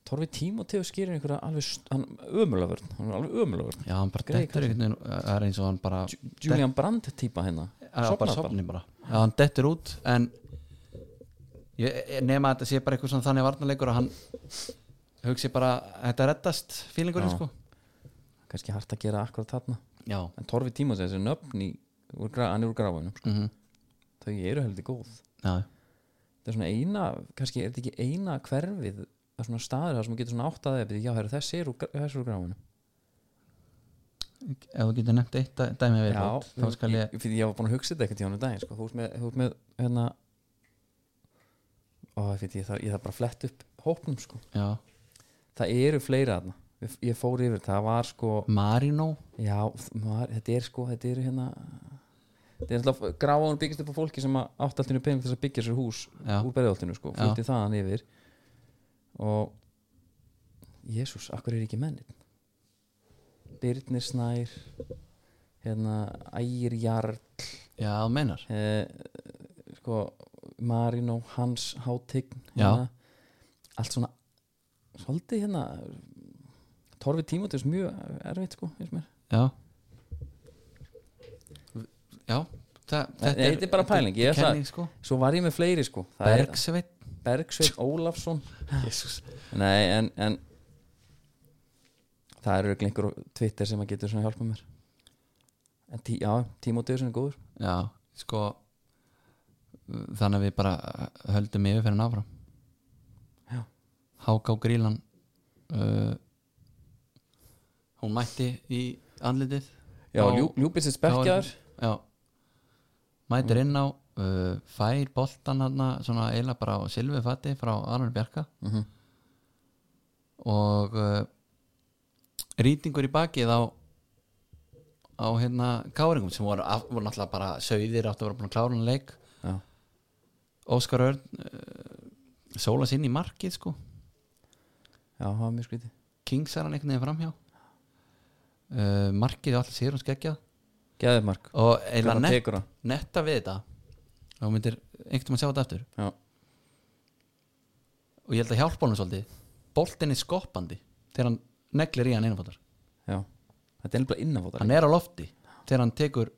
[SPEAKER 2] Torfi Tímoteo skýrir einhverja alveg, st- hann ömulaförn hann er alveg ömulaförn
[SPEAKER 3] Já, hann bara
[SPEAKER 2] Grey
[SPEAKER 3] dettur einhvern veginn það er eins og hann bara
[SPEAKER 2] Julian Brandt típa hérna
[SPEAKER 3] Já, bara
[SPEAKER 2] Sofnaði
[SPEAKER 3] sopni bara Já, hann dettur út en ég, ég nema að þetta sé bara eitthvað svona þannig varnarleikur að hann hugsi bara þetta reddast fílingurinn
[SPEAKER 2] Já.
[SPEAKER 3] sko
[SPEAKER 2] kannski hægt að gera akkurat þarna
[SPEAKER 3] Já,
[SPEAKER 2] en Torfi Tímos þessi nöfn í, úr, gra- hann er úr grafunum sko.
[SPEAKER 3] mm
[SPEAKER 2] þau eru heldur góð
[SPEAKER 3] já,
[SPEAKER 2] það er svona eina, kannski er þetta ekki eina hverfið, það er svona staður þar sem þú getur svona átt að þeir, já, heru, þessi er úr, gra- þessi er úr grafunum
[SPEAKER 3] ef þú getur nefnt eitt dæ- dæmi við viðbót, þá skal ég
[SPEAKER 2] ég, fyrir ég var búin að hugsa þetta eitthvað tjónu daginn sko. þú ert með, þú ert með hérna ó, fyrir, ég, þarf, ég þarf bara að fletta upp hópnum sko.
[SPEAKER 3] Já,
[SPEAKER 2] það eru fleira þarna Ég- ég fór yfir, það var sko
[SPEAKER 3] Marino
[SPEAKER 2] já, maður, þetta er sko, þetta eru hérna þetta er alltaf gráðan byggist upp á fólki sem átt alltaf pening til þess að byggja sér hús
[SPEAKER 3] Já.
[SPEAKER 2] úr berðoltinu sko,
[SPEAKER 3] Já.
[SPEAKER 2] flutti þaðan yfir og Jésús, akkur er ekki mennin Birnir Snær hérna Ægir Jarl
[SPEAKER 3] Já, þú meinar
[SPEAKER 2] eh, sko Marino, Hans Hátign hérna.
[SPEAKER 3] Já.
[SPEAKER 2] allt svona svolítið hérna Torfi Tímotis mjög erfitt sko finnst mér
[SPEAKER 3] Já Já, það,
[SPEAKER 2] Nei, þetta er bara pæling, ég
[SPEAKER 3] þetta er
[SPEAKER 2] sagði-
[SPEAKER 3] kenning, sko.
[SPEAKER 2] Svo var ég með fleiri sko Það er
[SPEAKER 3] Bergsveit
[SPEAKER 2] Bergsveit Ólafsson
[SPEAKER 3] Jesus.
[SPEAKER 2] Nei en, en Það eru einhver Twitter sem að getur svona hjálpa mér en tí, já, tímótiðurinn er góður
[SPEAKER 3] já, sko þannig að við bara höldum yfir fyrir náfram
[SPEAKER 2] Já.
[SPEAKER 3] Háká Grílan uh, hún mætti í andlitið
[SPEAKER 2] já,
[SPEAKER 3] Þá-
[SPEAKER 2] ljú, ljúbisins berkjaður Mm.
[SPEAKER 3] já mætir inn á uh, fær boltan hana svona eiginlega bara á silfufatti frá Arnur Bjarka
[SPEAKER 2] Mhm.
[SPEAKER 3] og uh, rýtingur í bakið á á hérna káringum sem voru, af, voru náttúrulega bara sögðir áttu að vera búin að klára hann leik
[SPEAKER 2] já,
[SPEAKER 3] Óskar Örn uh, sóla sinn í markið sko
[SPEAKER 2] já, það var mjög skrítið
[SPEAKER 3] kingsar hann einhvern veginn framhjá uh, markið allir sér hún skeggja
[SPEAKER 2] geðið mark,
[SPEAKER 3] og eiginlega
[SPEAKER 2] Hvernig
[SPEAKER 3] nett
[SPEAKER 2] tekur það
[SPEAKER 3] netta við þetta þá myndir einhvern veginn sjá þetta eftir
[SPEAKER 2] já,
[SPEAKER 3] og ég held að hjálpa honum svolítið boltin er skoppandi þegar hann neglir í hann innanfótar
[SPEAKER 2] já, þetta er nefnilega innanfótar
[SPEAKER 3] hann er á lofti þegar hann tekur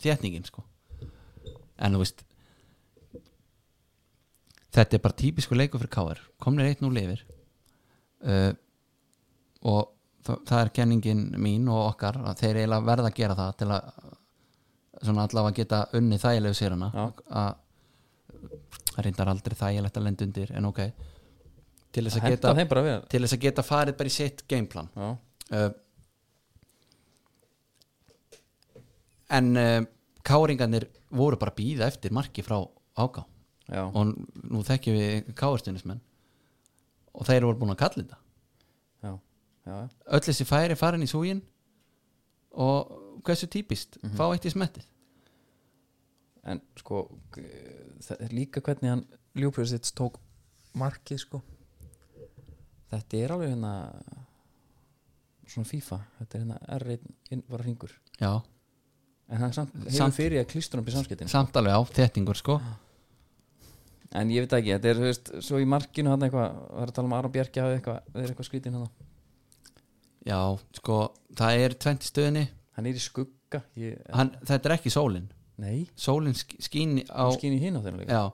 [SPEAKER 3] þétningin sko en þú veist þetta er bara típisku leikur fyrir KR komnir eitt nú lifir uh, og þa- það er kenningin mín og okkar að þeir eiginlega verða að gera það til að svona allavega geta unni þægilegu sér hana
[SPEAKER 2] Já.
[SPEAKER 3] að það reyndar aldrei þægilegt að lenda undir en ok til þess að,
[SPEAKER 2] henda
[SPEAKER 3] geta,
[SPEAKER 2] þeim bara við
[SPEAKER 3] til þess að geta farið bara í sitt gameplan
[SPEAKER 2] já,
[SPEAKER 3] uh, en uh, káringarnir voru bara að býða eftir marki frá áká
[SPEAKER 2] já,
[SPEAKER 3] og n- nú þekkjum við káarstunismenn og þeir voru búin að kalla þetta
[SPEAKER 2] já, já, já.
[SPEAKER 3] öll þessi færi farin í súgin og hversu típist fá eitt í smettið
[SPEAKER 2] en sko g- það er líka hvernig hann ljúbisins tók markið sko þetta er alveg hérna svona FIFA, þetta er hérna R1 inn var hringur,
[SPEAKER 3] já,
[SPEAKER 2] en hann samt hefur
[SPEAKER 3] Samt-
[SPEAKER 2] fyrir að klístur hann byrja samskiptin
[SPEAKER 3] samt alveg á þettingur sko
[SPEAKER 2] en ég veit það ekki, þetta er þú veist, svo í markinu hann eitthvað, það er að tala um Aron Bjarki hafi eitthvað, það er eitthvað hérna. skrítin hann
[SPEAKER 3] já, sko, það er 20 stöðinni
[SPEAKER 2] hann er í skugga ég,
[SPEAKER 3] Hann, þetta er ekki sólin
[SPEAKER 2] nei,
[SPEAKER 3] sólin sk- skín á
[SPEAKER 2] hann skýn í hinn á þeirra líka
[SPEAKER 3] Já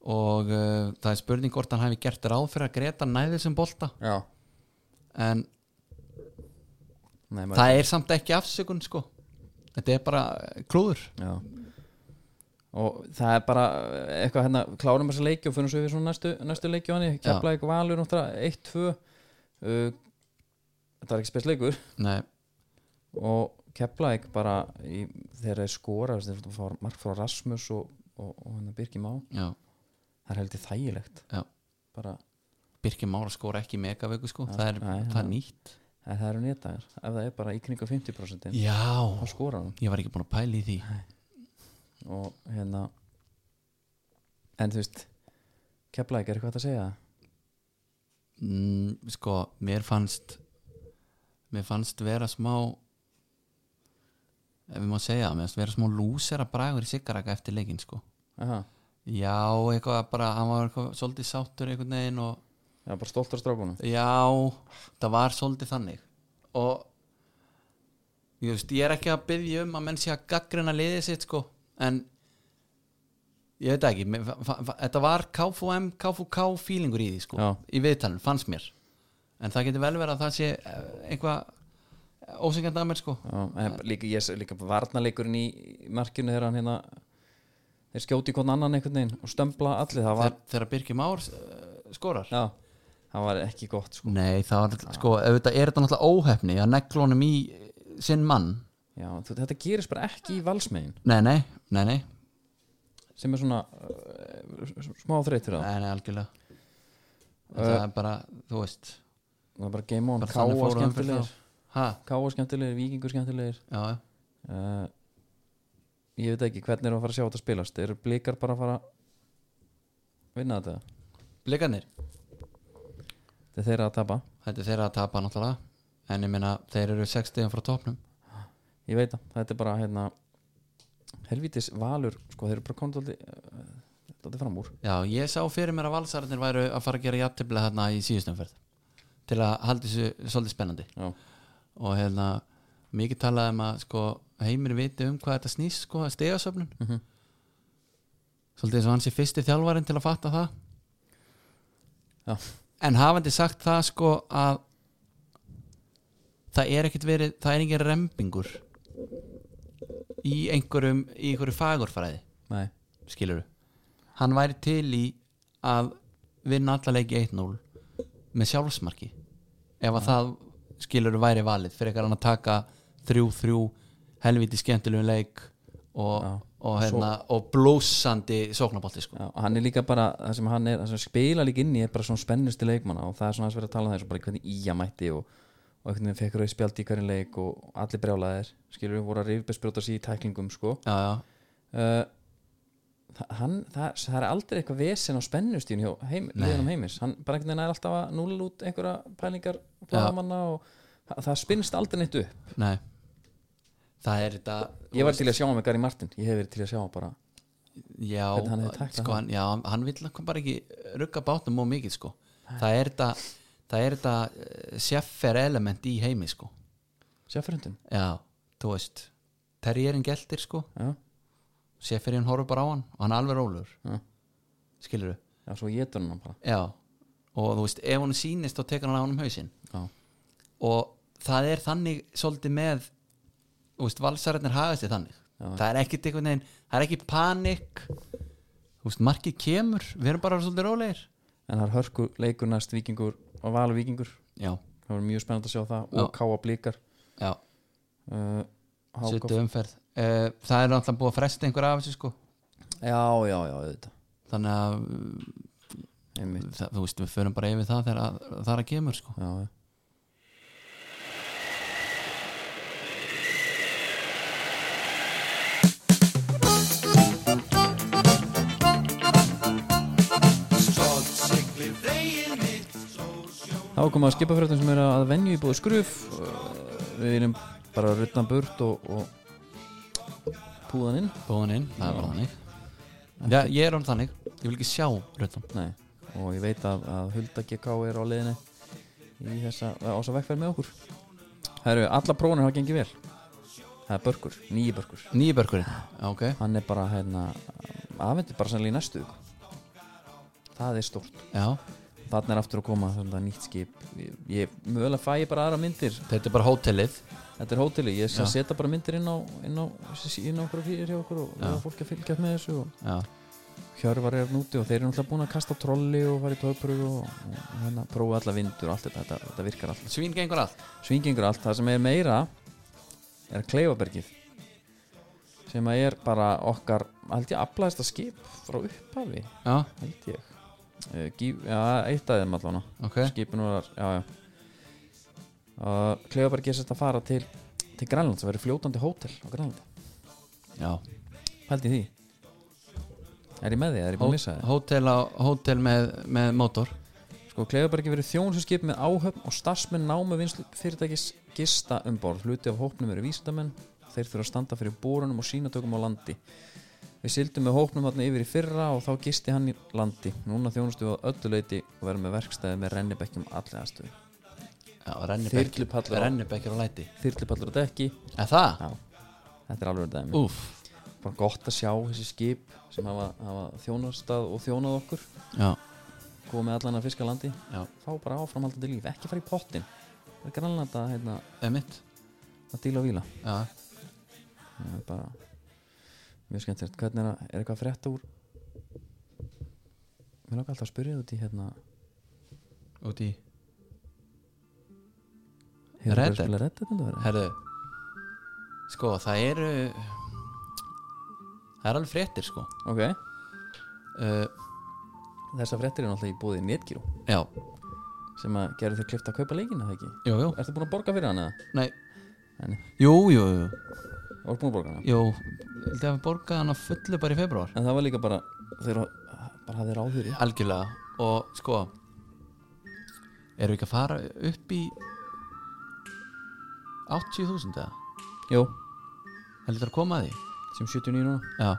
[SPEAKER 3] og uh, það er spurning hvort hann hafi gert ráð fyrir að Greta næði þessum bolta
[SPEAKER 2] já,
[SPEAKER 3] en
[SPEAKER 2] nei, maður,
[SPEAKER 3] það er samt ekki afsökun sko þetta er bara eh, klúður
[SPEAKER 2] já og það er bara eh, eitthvað hérna, klárum þessa leiki og fyrir svo við svona næstu, næstu leiki á hann
[SPEAKER 3] Já.
[SPEAKER 2] keflaði eitthvað valur náttúrulega 1-2 uh, þetta var ekki spes leikur
[SPEAKER 3] Nei,
[SPEAKER 2] og Keflæk bara í, þegar þeir skora þú veist, þeir fá mark frá Rasmus og, og, og hérna Birgir Má
[SPEAKER 3] já,
[SPEAKER 2] það er heldur þægilegt
[SPEAKER 3] Já.
[SPEAKER 2] bara,
[SPEAKER 3] Birkir Mára skora ekki megavöku sko,
[SPEAKER 2] Já,
[SPEAKER 3] það er,
[SPEAKER 2] nei,
[SPEAKER 3] það er
[SPEAKER 2] já.
[SPEAKER 3] nýtt
[SPEAKER 2] en það eru néttagar ef það er bara í kringu 50% þá
[SPEAKER 3] Já,
[SPEAKER 2] skora hann
[SPEAKER 3] ég var ekki búin að pæla í því
[SPEAKER 2] og hérna en þú veist Keflæk er eitthvað hægt að segja
[SPEAKER 3] mm, Sko, mér fannst mér fannst vera smá ef við má segja, það, mér fannst vera smá lúsera bragur í Sigaraka eftir leikinn sko
[SPEAKER 2] Aha.
[SPEAKER 3] Já, eitthvað bara, hann var eitthvað, svolítið sáttur einhvern veginn og
[SPEAKER 2] Já, bara stoltur af strákunum
[SPEAKER 3] Já, það var svolítið þannig og ég, veist, ég er ekki að byggja um að menn sé að gaggrina liðið sitt sko en ég veit það ekki mér fa- fa- fa- þetta var KFUM, KFUK feelingur í því sko,
[SPEAKER 2] Já.
[SPEAKER 3] í viðtalinu, fannst mér en það getur vel verið að það sé eh, eitthvað ósengjandi að mér sko
[SPEAKER 2] Já, en líka, ég, sé líka varnaleikurinn í í markinu þegar hann hérna þeir skjóti hvern annan einhvern veginn og stömbla allir, það var,
[SPEAKER 3] þegar, þegar Birgir Már uh, skorar
[SPEAKER 2] já, það var ekki gott sko.
[SPEAKER 3] Nei, það var sko, auðvitað er þetta náttúrulega óhefni að negla honum í eh, sinn mann
[SPEAKER 2] já, þú, þetta gerist bara ekki í valsmiðin
[SPEAKER 3] Nei, nei, nei, nei,
[SPEAKER 2] sem er svona uh, smá þreytt fyrir það
[SPEAKER 3] Nei, nei, algjörlega Það er bara, þú veist
[SPEAKER 2] það var bara game on,
[SPEAKER 3] bara
[SPEAKER 2] káa
[SPEAKER 3] þannig fór hann fyrir
[SPEAKER 2] skemmtilegir
[SPEAKER 3] þá. Ha,
[SPEAKER 2] káa skemmtilegir, vikingur skemmtilegir
[SPEAKER 3] já, já.
[SPEAKER 2] uh, ég veit ekki hvernig er að fara að sjá þetta spilast eru blikar bara að fara að vinna þetta
[SPEAKER 3] Blikarnir,
[SPEAKER 2] þetta er þeirra að tapa,
[SPEAKER 3] þetta er þeirra að tapa náttúrulega En ég meina, þeir eru 6 stegum frá topnum
[SPEAKER 2] ég veit það þetta er bara hérna helvítis valur, sko þeir eru bara komið þetta fram úr
[SPEAKER 3] Já, ég sá fyrir mér að valsararnir væru að fara að gera jafntefla þarna í síðustumferð Til að haldi þessu svolítið spennandi
[SPEAKER 2] Já.
[SPEAKER 3] Og hérna, mikið talaði um að sko, heimir viti um hvað þetta snýst sko, að stegasöfnun
[SPEAKER 2] Mhm.
[SPEAKER 3] Svolítið eins og hans er fyrsti þjálfarinn til að fatta það
[SPEAKER 2] Já.
[SPEAKER 3] en hafandi sagt það sko að það er ekkert verið það er engin rembingur í einhverjum, í einhverju fagurfræði
[SPEAKER 2] Nei,
[SPEAKER 3] skilur hann væri til í að vinna alla leiki 1-0 með sjálfsmarki ef að það skilur væri valið fyrir ekkar hann að taka 3-3 helviti skemmtilegum leik og,
[SPEAKER 2] Já.
[SPEAKER 3] og, hérna, og blósandi sóknabótti sko.
[SPEAKER 2] já, og hann er líka bara það sem hann er, það sem spila líka inn í er bara svona spennusti leikmanna og það er svona aðeins verið að tala um það eins og bara hvernig Ía mætti og, og einhvern veginn fekk rauð spjald í hverju leik og allir brjálaðir, skilur við voru að rifbesbrjóta sér í tæklingum sko
[SPEAKER 3] já, já,
[SPEAKER 2] uh, þa- hann, það, það er aldrei eitthvað vesen á spennustíun hjá heim,
[SPEAKER 3] Nei.
[SPEAKER 2] liðanum heimis hann bara einhvern veginn er alltaf að núla út einhverja pælingar blaðamanna og það, það spinnst aldrei neitt upp
[SPEAKER 3] nei það er þetta
[SPEAKER 2] ég var til að sjá hann með Gary Martin ég hef verið til að sjá hann bara
[SPEAKER 3] já,
[SPEAKER 2] hvernig hann hefði tæklað
[SPEAKER 3] sko,
[SPEAKER 2] það.
[SPEAKER 3] hann, já, hann- hann vill kom bara ekki rugga bátnum mjög mikið sko. það er þetta það er þetta sjeffer element í heimi sko.
[SPEAKER 2] sjáfyrhundin
[SPEAKER 3] Já, þú veist Terrierin geltir sko
[SPEAKER 2] já,
[SPEAKER 3] Sefirinn horfur bara á hann og hann er alveg rólur
[SPEAKER 2] Já.
[SPEAKER 3] Skilurðu?
[SPEAKER 2] já, svo getur hann hann bara
[SPEAKER 3] Já Og þú veist, ef hann sýnist þá tekur hann á hann um hausinn
[SPEAKER 2] já,
[SPEAKER 3] Og það er þannig svolítið með Þú veist, valsararnir hagast þið þannig Það er ekkit einhvern veginn Það er ekki panik Þú veist, markið kemur Við erum bara svolítið rólegir
[SPEAKER 2] en það er hörku leikur næst vikingur og val vikingur
[SPEAKER 3] Já,
[SPEAKER 2] það var mjög spennandi að sjá það
[SPEAKER 3] Já.
[SPEAKER 2] og káa blíkar
[SPEAKER 3] já,
[SPEAKER 2] uh, HK.
[SPEAKER 3] sjöttu umferð uh, Það er náttúrulega búið að fresta einhver af þessu sko
[SPEAKER 2] já, já, já, auðvitað
[SPEAKER 3] Þannig að mm,
[SPEAKER 2] einmitt
[SPEAKER 3] það, þú veist, við förum bara yfir það þegar að- það er að kemur sko
[SPEAKER 2] Já, já. Þá komum við að skipa fyrir sem eru að venju í búið skruf Við erum bara að rutna burt og, og púðan inn
[SPEAKER 3] Búin inn, það er bara þannig Já, ég er um þannig, ég vil ekki sjá röddum
[SPEAKER 2] Nei. og ég veit að, að Hulda GK er á leiðinni í þessa ása vekkferð með okkur Það eru, alla prófanir hafa gengið vel Það er börkur, nýji börkur
[SPEAKER 3] Nýju börkurinn, ok
[SPEAKER 2] Hann er bara, hérna, afhendur bara sannlega í næstu viku. Það er stórt
[SPEAKER 3] Já,
[SPEAKER 2] Þarna er aftur að koma þetta nýtt skip Ég, ég mögulega fæ ég bara aðra myndir
[SPEAKER 3] þetta er bara hótelið
[SPEAKER 2] Þetta er hóteli, ég
[SPEAKER 3] Já.
[SPEAKER 2] skal setja bara myndir inn á inn á, inn á okkur og fyrir hjá okkur og það er fólk að fylgja með þessu og
[SPEAKER 3] Já,
[SPEAKER 2] Hjörvar er núti og þeir eru náttúrulega búin að kasta á trolli og fara í tókpröfu og, og hérna prófa alla vindur og allt þetta, þetta, þetta virkar allt
[SPEAKER 3] svín gengur allt
[SPEAKER 2] svingingur allt, það sem er meira er Kleifabergið sem að er bara okkar held ég aflaðasta skip frá upphafi
[SPEAKER 3] Já,
[SPEAKER 2] held ég uh, gíf, já, eitt af þeim allan
[SPEAKER 3] ok,
[SPEAKER 2] skipinu var, já, já uh, Kleifabergið er sett að fara til til Grænland, það verður fljótandi hótel á Grænlandi,
[SPEAKER 3] já
[SPEAKER 2] held ég því er ég með því, er ég búin að missa því
[SPEAKER 3] Hótel, á, hótel með, með mótor
[SPEAKER 2] Sko, Kleiðabergi verið þjónsuskip með áhöfn og starfsmenn námu vinslu fyrirtækis gista um borð. Hluti af hópnum eru vísindamenn, þeir þurfa að standa fyrir bórunum og sínatökum á landi. Við sildum með hópnum þarna yfir í fyrra og þá gisti hann í landi. Núna þjónustu við á öllu leiti og verðum með verkstæði með rennibekkjum allir aðstöðu.
[SPEAKER 3] Já, rennibekk
[SPEAKER 2] Þyrlupallar á-
[SPEAKER 3] Rennibekkir á læti
[SPEAKER 2] Þyrlipallur að dekki,
[SPEAKER 3] Er það?
[SPEAKER 2] já, þetta er alveg dæmi.
[SPEAKER 3] Úf,
[SPEAKER 2] Bara gott að sjá þessi skip sem hafa, hafa þjónastað og þjónað okkur,
[SPEAKER 3] já,
[SPEAKER 2] komið allan að fiska á landi,
[SPEAKER 3] já,
[SPEAKER 2] fá bara áframhaldandi líf, ekki fara í pottin. Það er grannlanda hérna,
[SPEAKER 3] emitt
[SPEAKER 2] að díla og víla.
[SPEAKER 3] Já,
[SPEAKER 2] það er bara mjög skemmtilegt hvernig er, að, er eitthvað að frétta úr mér langar alltaf að spyrja þig út í hérna
[SPEAKER 3] út í
[SPEAKER 2] hefur
[SPEAKER 3] Red
[SPEAKER 2] verið að
[SPEAKER 3] Dead?
[SPEAKER 2] spila Red Dead undanfarið?
[SPEAKER 3] Herðu Sko, það eru Það er alveg fréttir sko
[SPEAKER 2] ok,
[SPEAKER 3] uh,
[SPEAKER 2] þessar fréttir er náttúrulega í búið Netgyro
[SPEAKER 3] Já,
[SPEAKER 2] sem að gerðu þér klift að kaupa leikina það ekki
[SPEAKER 3] jú, jú
[SPEAKER 2] ertu búin að borga fyrir hann eða?
[SPEAKER 3] Nei
[SPEAKER 2] Nei.
[SPEAKER 3] Jú, jú, jú,
[SPEAKER 2] Þú ert búin að borga hann
[SPEAKER 3] jú Þegar við borgaði hann að fullu bara í februar
[SPEAKER 2] en það var líka bara þeir bara hafið ráður í
[SPEAKER 3] Algjörlega Og sko Erum við ekki að fara upp í 80.000 eða?
[SPEAKER 2] jú,
[SPEAKER 3] Heldur að koma að því?
[SPEAKER 2] sem 79 núna
[SPEAKER 3] Já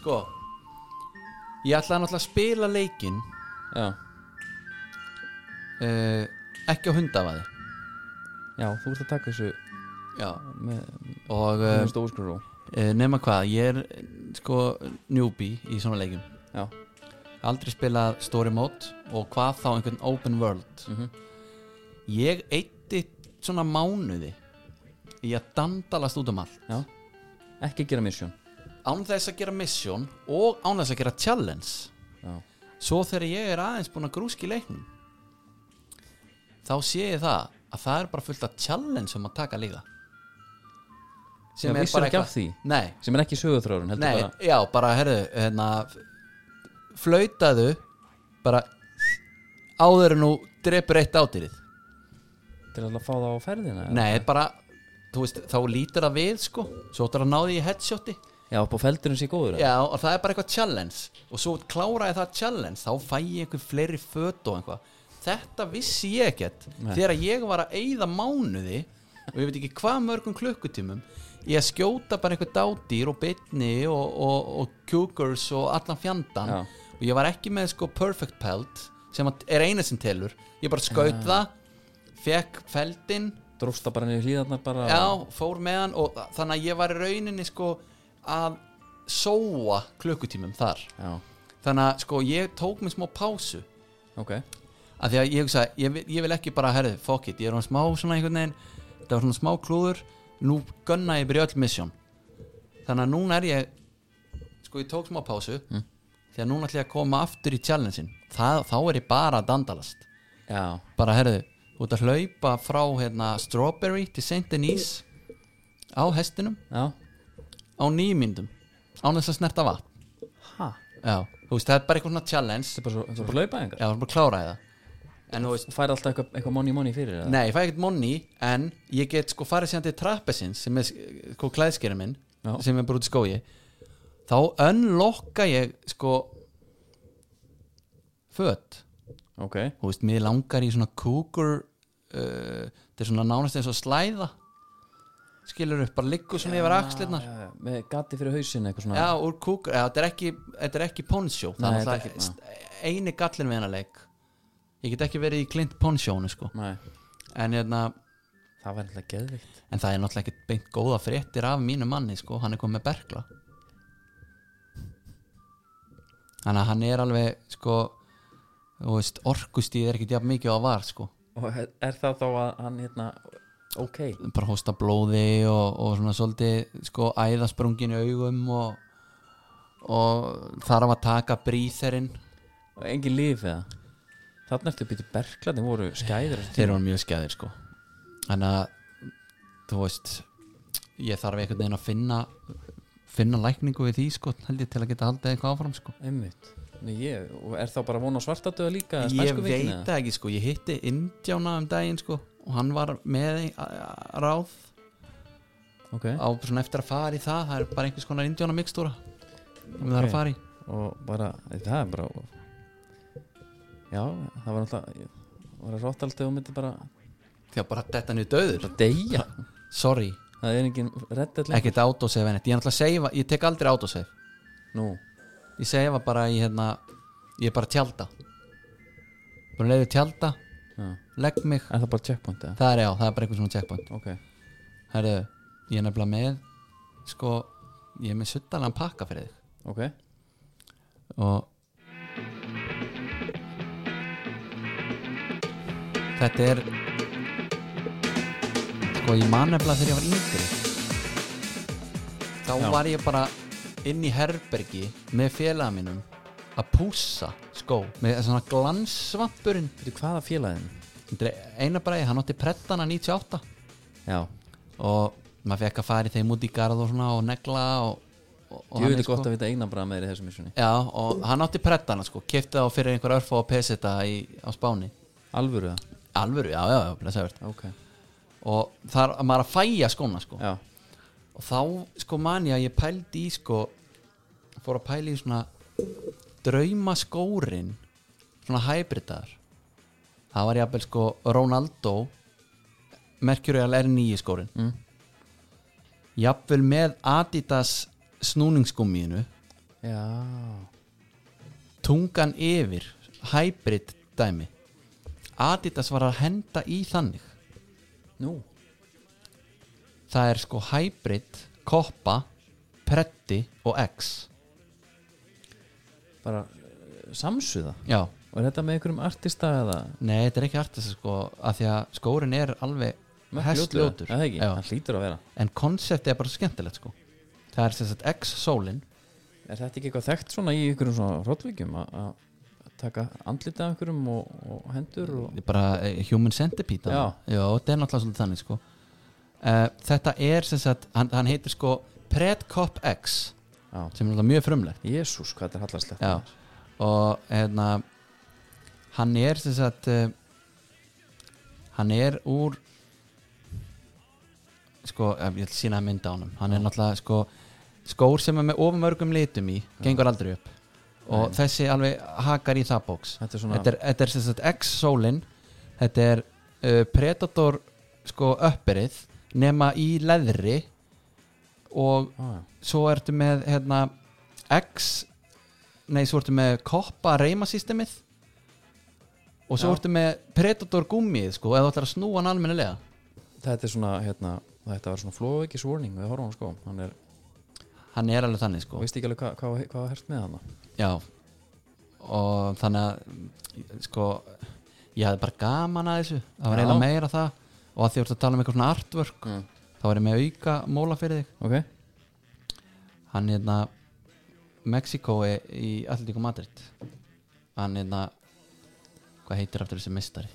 [SPEAKER 3] Sko Ég ætlaði náttúrulega að spila leikinn
[SPEAKER 2] já,
[SPEAKER 3] uh, Ekki á hundavaði
[SPEAKER 2] já, þú ert að taka þessu
[SPEAKER 3] Já
[SPEAKER 2] með,
[SPEAKER 3] Og uh,
[SPEAKER 2] með stóðskur og
[SPEAKER 3] uh, nema hvað Ég er eh, sko newbie í svona leikim
[SPEAKER 2] já,
[SPEAKER 3] Aldrei spilað story mode Og hvað þá einhvern open world
[SPEAKER 2] mhm,
[SPEAKER 3] ég eitti svona mánuði í að dandalast út um allt
[SPEAKER 2] já ekki gera misjón
[SPEAKER 3] án þess að gera mission og án þess að gera challenge
[SPEAKER 2] Já.
[SPEAKER 3] svo þegar ég er aðeins búin að grúski leiknum þá sé ég það að það er bara fullt af challenge um að taka líða
[SPEAKER 2] Já, vissir ekki af því?
[SPEAKER 3] nei,
[SPEAKER 2] sem er ekki sögurþrárun heldur
[SPEAKER 3] nei,
[SPEAKER 2] bara
[SPEAKER 3] já, bara herðu hérna, flautaðu bara áður en þú drepur eitt ádýrið
[SPEAKER 2] til að fá það á ferðina eða?
[SPEAKER 3] nei, bara, þú veist, þá lítur það við sko, svo ætlar að ná því í headshoti
[SPEAKER 2] já, upp á feldurinn sé góður eða?
[SPEAKER 3] Já, og það er bara eitthvað challenge og svo klára ég það challenge þá fæ ég einhver fleiri föt og einhvað þetta vissi ég ekkert þegar ég var að eyða mánuði og ég veit ekki hvað mörgum klukkutímum ég að skjóta bara einhver dádýr og bitni og, og, og cougars og allan fjandan
[SPEAKER 2] Já.
[SPEAKER 3] og ég var ekki með sko perfect pelt sem að- er eina sem telur ég bara skaut það fekk feldin
[SPEAKER 2] drósta bara niður hlýðarnar bara
[SPEAKER 3] Já, fór með hann og þa- þannig að ég var í rauninni sko að sóa klukkutímum þar
[SPEAKER 2] já,
[SPEAKER 3] þannig að sko ég tók mér smá pásu
[SPEAKER 2] ok
[SPEAKER 3] af því að ég hugsa, ég, vil- ég vil ekki bara herði, fuck it, ég er hann smá svona einhvern veginn þetta var svona smá klúður, nú gunna ég byrja öll misjón þannig að núna er ég sko ég tók smá pásu því að núna ætla ég að koma aftur í challengein Það, þá er ég bara að dandalast
[SPEAKER 2] já,
[SPEAKER 3] bara herðu, þú ert að hlaupa frá hérna, Strawberry til St. Denis á hestinum
[SPEAKER 2] já,
[SPEAKER 3] á nýmyndum án þess að snerta vatn
[SPEAKER 2] ha
[SPEAKER 3] já, þú veist, það er bara eitthvað svona challenge
[SPEAKER 2] þetta er bara svo, þetta er bara hlaupa
[SPEAKER 3] já, það er bara að klára það en þú veist,
[SPEAKER 2] og fær alltaf eitthvað, eitthvað money money fyrir það
[SPEAKER 3] nei, ég fæ ekkert monni en ég get sko farið síðan til trappesins sem er sko klæðskerinn minn
[SPEAKER 2] Já.
[SPEAKER 3] sem er bara út í skói þá unlocka ég sko fött
[SPEAKER 2] ok,
[SPEAKER 3] þú veist, mér langar í svona kúkur uh, þetta er svona nánast eins og slæða skilur upp, bara liggur svona yfir axlirnar
[SPEAKER 2] já, já, Eh, með gati fyrir hausin eitthvað svona
[SPEAKER 3] já, úr kúkur, já, þetta er ekki þetta er ekki poncho
[SPEAKER 2] Nei,
[SPEAKER 3] það er
[SPEAKER 2] þetta er
[SPEAKER 3] náttúrulega st- eini gallin við hennar leik ég get ekki verið í klint ponchónu sko.
[SPEAKER 2] Nei,
[SPEAKER 3] en, hérna,
[SPEAKER 2] það var alltaf geðvikt
[SPEAKER 3] en það er náttúrulega ekki beint góða fréttir af mínu manni, sko. hann er komið með bergla þannig að hann er alveg sko, þú veist, orkustíð er ekki jafn mikið og það var sko.
[SPEAKER 2] og er það þá að hann hérna ok,
[SPEAKER 3] bara hósta blóði og, og svona svolítið sko æðasprungin í augum og, og þarf að taka bríþerinn
[SPEAKER 2] og engin líf eða þarna ertu býtu berkla, þeir voru skæðir á þessum
[SPEAKER 3] þeir eru mjög skæðir sko þannig að þú veist ég þarf einhvern veginn að finna finna lækningu við því sko held ég til að geta haldið eitthvað áfram sko
[SPEAKER 2] tíma. einmitt, Nei, ég, og er þá bara von á svartadöða líka eða
[SPEAKER 3] ég
[SPEAKER 2] spænsku veikinni,
[SPEAKER 3] veit
[SPEAKER 2] eða?
[SPEAKER 3] það ekki sko ég hitti Indjána um daginn sko og hann var með í- a- a- ráð
[SPEAKER 2] ok,
[SPEAKER 3] á svona eftir að fara í það það er bara einhvers konar Indjána mikstúra sem það er
[SPEAKER 2] Ok.
[SPEAKER 3] að fara í
[SPEAKER 2] og bara, það er bara já, það var alltaf var það rátt alltaf og myndi bara
[SPEAKER 3] því að bara detta niður döður
[SPEAKER 2] deyja,
[SPEAKER 3] sorry,
[SPEAKER 2] það er engin reddell
[SPEAKER 3] ekkert autosave en eitt. ég, náttúrulega seifa, ég tek aldrei autosave
[SPEAKER 2] nú,
[SPEAKER 3] ég seifa bara í hérna ég er bara að tjálta bara leiði tjálta,
[SPEAKER 2] já.
[SPEAKER 3] legg mig
[SPEAKER 2] er það bara checkpoint eða?
[SPEAKER 3] það er já, það er bara einhvern svona checkpoint
[SPEAKER 2] ok,
[SPEAKER 3] Herðu, ég er nefnilega með sko, ég er með suttalega pakka fyrir þig
[SPEAKER 2] ok
[SPEAKER 3] og þetta er sko ég man nefnilega þegar ég var yngri þá
[SPEAKER 2] Já.
[SPEAKER 3] var ég bara inn í herbergi með félaga mínum að pússa skó með svona glansvampurinn
[SPEAKER 2] Fyrir hvaða félagin?
[SPEAKER 3] eina bræði, hann átti prettana 98
[SPEAKER 2] Já,
[SPEAKER 3] og maður fekk að fara í þeim út í garð og svona og negla og, og, sko. og
[SPEAKER 2] ég
[SPEAKER 3] hann
[SPEAKER 2] veit
[SPEAKER 3] er
[SPEAKER 2] gott að vita eigna bara með þér í þessu missunni
[SPEAKER 3] Já, og hann átti prettana sko, kefti þá fyrir einhver örfá að peseta í, á Spáni
[SPEAKER 2] Alvöru það?
[SPEAKER 3] Alvöru, já, já, já, blessaður
[SPEAKER 2] Ok
[SPEAKER 3] Og þar að maður að fæja skóna sko
[SPEAKER 2] Já,
[SPEAKER 3] Og þá sko man ég að ég pældi í sko Fór að pæla í svona Drauma skórin Svona hybridar Það var jafnvel sko Ronaldo Mercurial R9 skórin
[SPEAKER 2] Mm.
[SPEAKER 3] Jafnvel með Adidas snúningsgummiðinu
[SPEAKER 2] já
[SPEAKER 3] tungan yfir hybrid dæmi Adidas var að henda í þannig
[SPEAKER 2] Nú,
[SPEAKER 3] það er sko hybrid koppa, pretti og x
[SPEAKER 2] bara eh, samsuða
[SPEAKER 3] já,
[SPEAKER 2] Og er þetta með einhverjum artista eða?
[SPEAKER 3] nei þetta er ekki artist sko, að því að skórin er alveg
[SPEAKER 2] Mörk ljótur,
[SPEAKER 3] hestljótur
[SPEAKER 2] eða? Já, það ekki,
[SPEAKER 3] Já.
[SPEAKER 2] það hlýtur að vera
[SPEAKER 3] en konseptið er bara svo skemmtilegt sko það er sem sagt X-sólin
[SPEAKER 2] Er þetta ekki eitthvað þekkt svona í ykkurum svona hróllvíkjum að að taka andlita af ykkurum og, og hendur og...
[SPEAKER 3] Þetta er bara eh, human centipede
[SPEAKER 2] Já.
[SPEAKER 3] Já, þetta er náttúrulega svolítið þannig sko. uh, þetta er sem sagt hann, hann heitir sko Predcop X
[SPEAKER 2] Já.
[SPEAKER 3] sem er náttúrulega mjög frumlegt
[SPEAKER 2] Jésús, hvað þetta er hallastlegt
[SPEAKER 3] Já. og hérna hann er sem sagt uh, hann er úr sko, eh, ég ætla að sína að mynda á honum hann er náttúrulega sko skór sem er með ofumörgum litum í gengur aldrei upp og þessi alveg hakar í það bóks
[SPEAKER 2] Þetta er svona
[SPEAKER 3] þetta er, þetta er sem sagt X-sólin þetta er uh, Predator sko öppirið nema í leðri og
[SPEAKER 2] ah,
[SPEAKER 3] svo ertu með hérna, X nei, svo ertu með koppa reymasystemið og svo
[SPEAKER 2] Já.
[SPEAKER 3] ertu með Predator gummið sko, eða þú ætlar að snúa hann almennilega
[SPEAKER 2] Þetta er svona, hérna, þetta var svona flóðveikis warning við horfum á hann sko Hann er,
[SPEAKER 3] hann er alveg þannig sko
[SPEAKER 2] og veist ekki alveg hvað hva, hva, hva hert með hann
[SPEAKER 3] já og þannig að sko ég hafði bara gaman að þessu það
[SPEAKER 2] Já.
[SPEAKER 3] var eiginlega meira það og að því voru að tala um eitthvað svona artwork
[SPEAKER 2] Mm.
[SPEAKER 3] þá var ég með auka móla fyrir þig
[SPEAKER 2] Ok,
[SPEAKER 3] hann hérna Mexikói í Atletico Madrid hann hérna hvað heitir aftur þessi mistari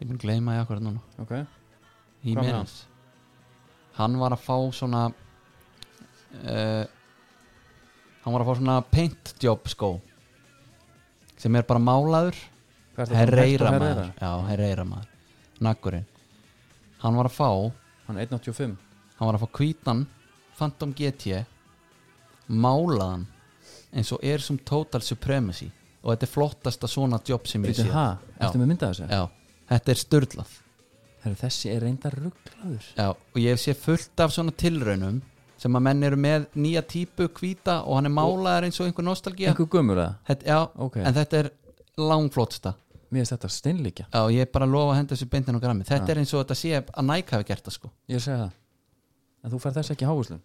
[SPEAKER 3] ég mun gleyma ég akkurat núna
[SPEAKER 2] ok Hvað með
[SPEAKER 3] Jimenez hann var að fá svona uh, hann var að fá svona paint job skó sem er bara málaður
[SPEAKER 2] Hvað ertu að tala um,
[SPEAKER 3] herreira
[SPEAKER 2] Hector
[SPEAKER 3] maður já, herreira maður nakkurinn hann var að fá
[SPEAKER 2] Hann er 1.85
[SPEAKER 3] hann var að fá kvítan Phantom GT málaðan eins og er sem Total Supremacy og þetta er flottasta svona jobb sem ég
[SPEAKER 2] Býtu,
[SPEAKER 3] sé
[SPEAKER 2] ha,
[SPEAKER 3] Já.
[SPEAKER 2] ertu með myndað þessu?
[SPEAKER 3] já, þetta er störlað
[SPEAKER 2] Herru, þessi er reyndar rugglaður
[SPEAKER 3] já, og ég sé fullt af svona tilraunum sem að menn eru með nýja típu hvíta og hann er málaðar eins og einhver nostalgía
[SPEAKER 2] Einhver gömur það?
[SPEAKER 3] þetta, já,
[SPEAKER 2] Ok.
[SPEAKER 3] en þetta er langflottsta
[SPEAKER 2] Mér finnst þetta steinlíkja
[SPEAKER 3] já, og ég er bara að lofa að henda þessu beintin og grammi þetta er eins og þetta sé að Nike hafi gert það sko
[SPEAKER 2] Ég segi það En þú fær þess ekki hávíslun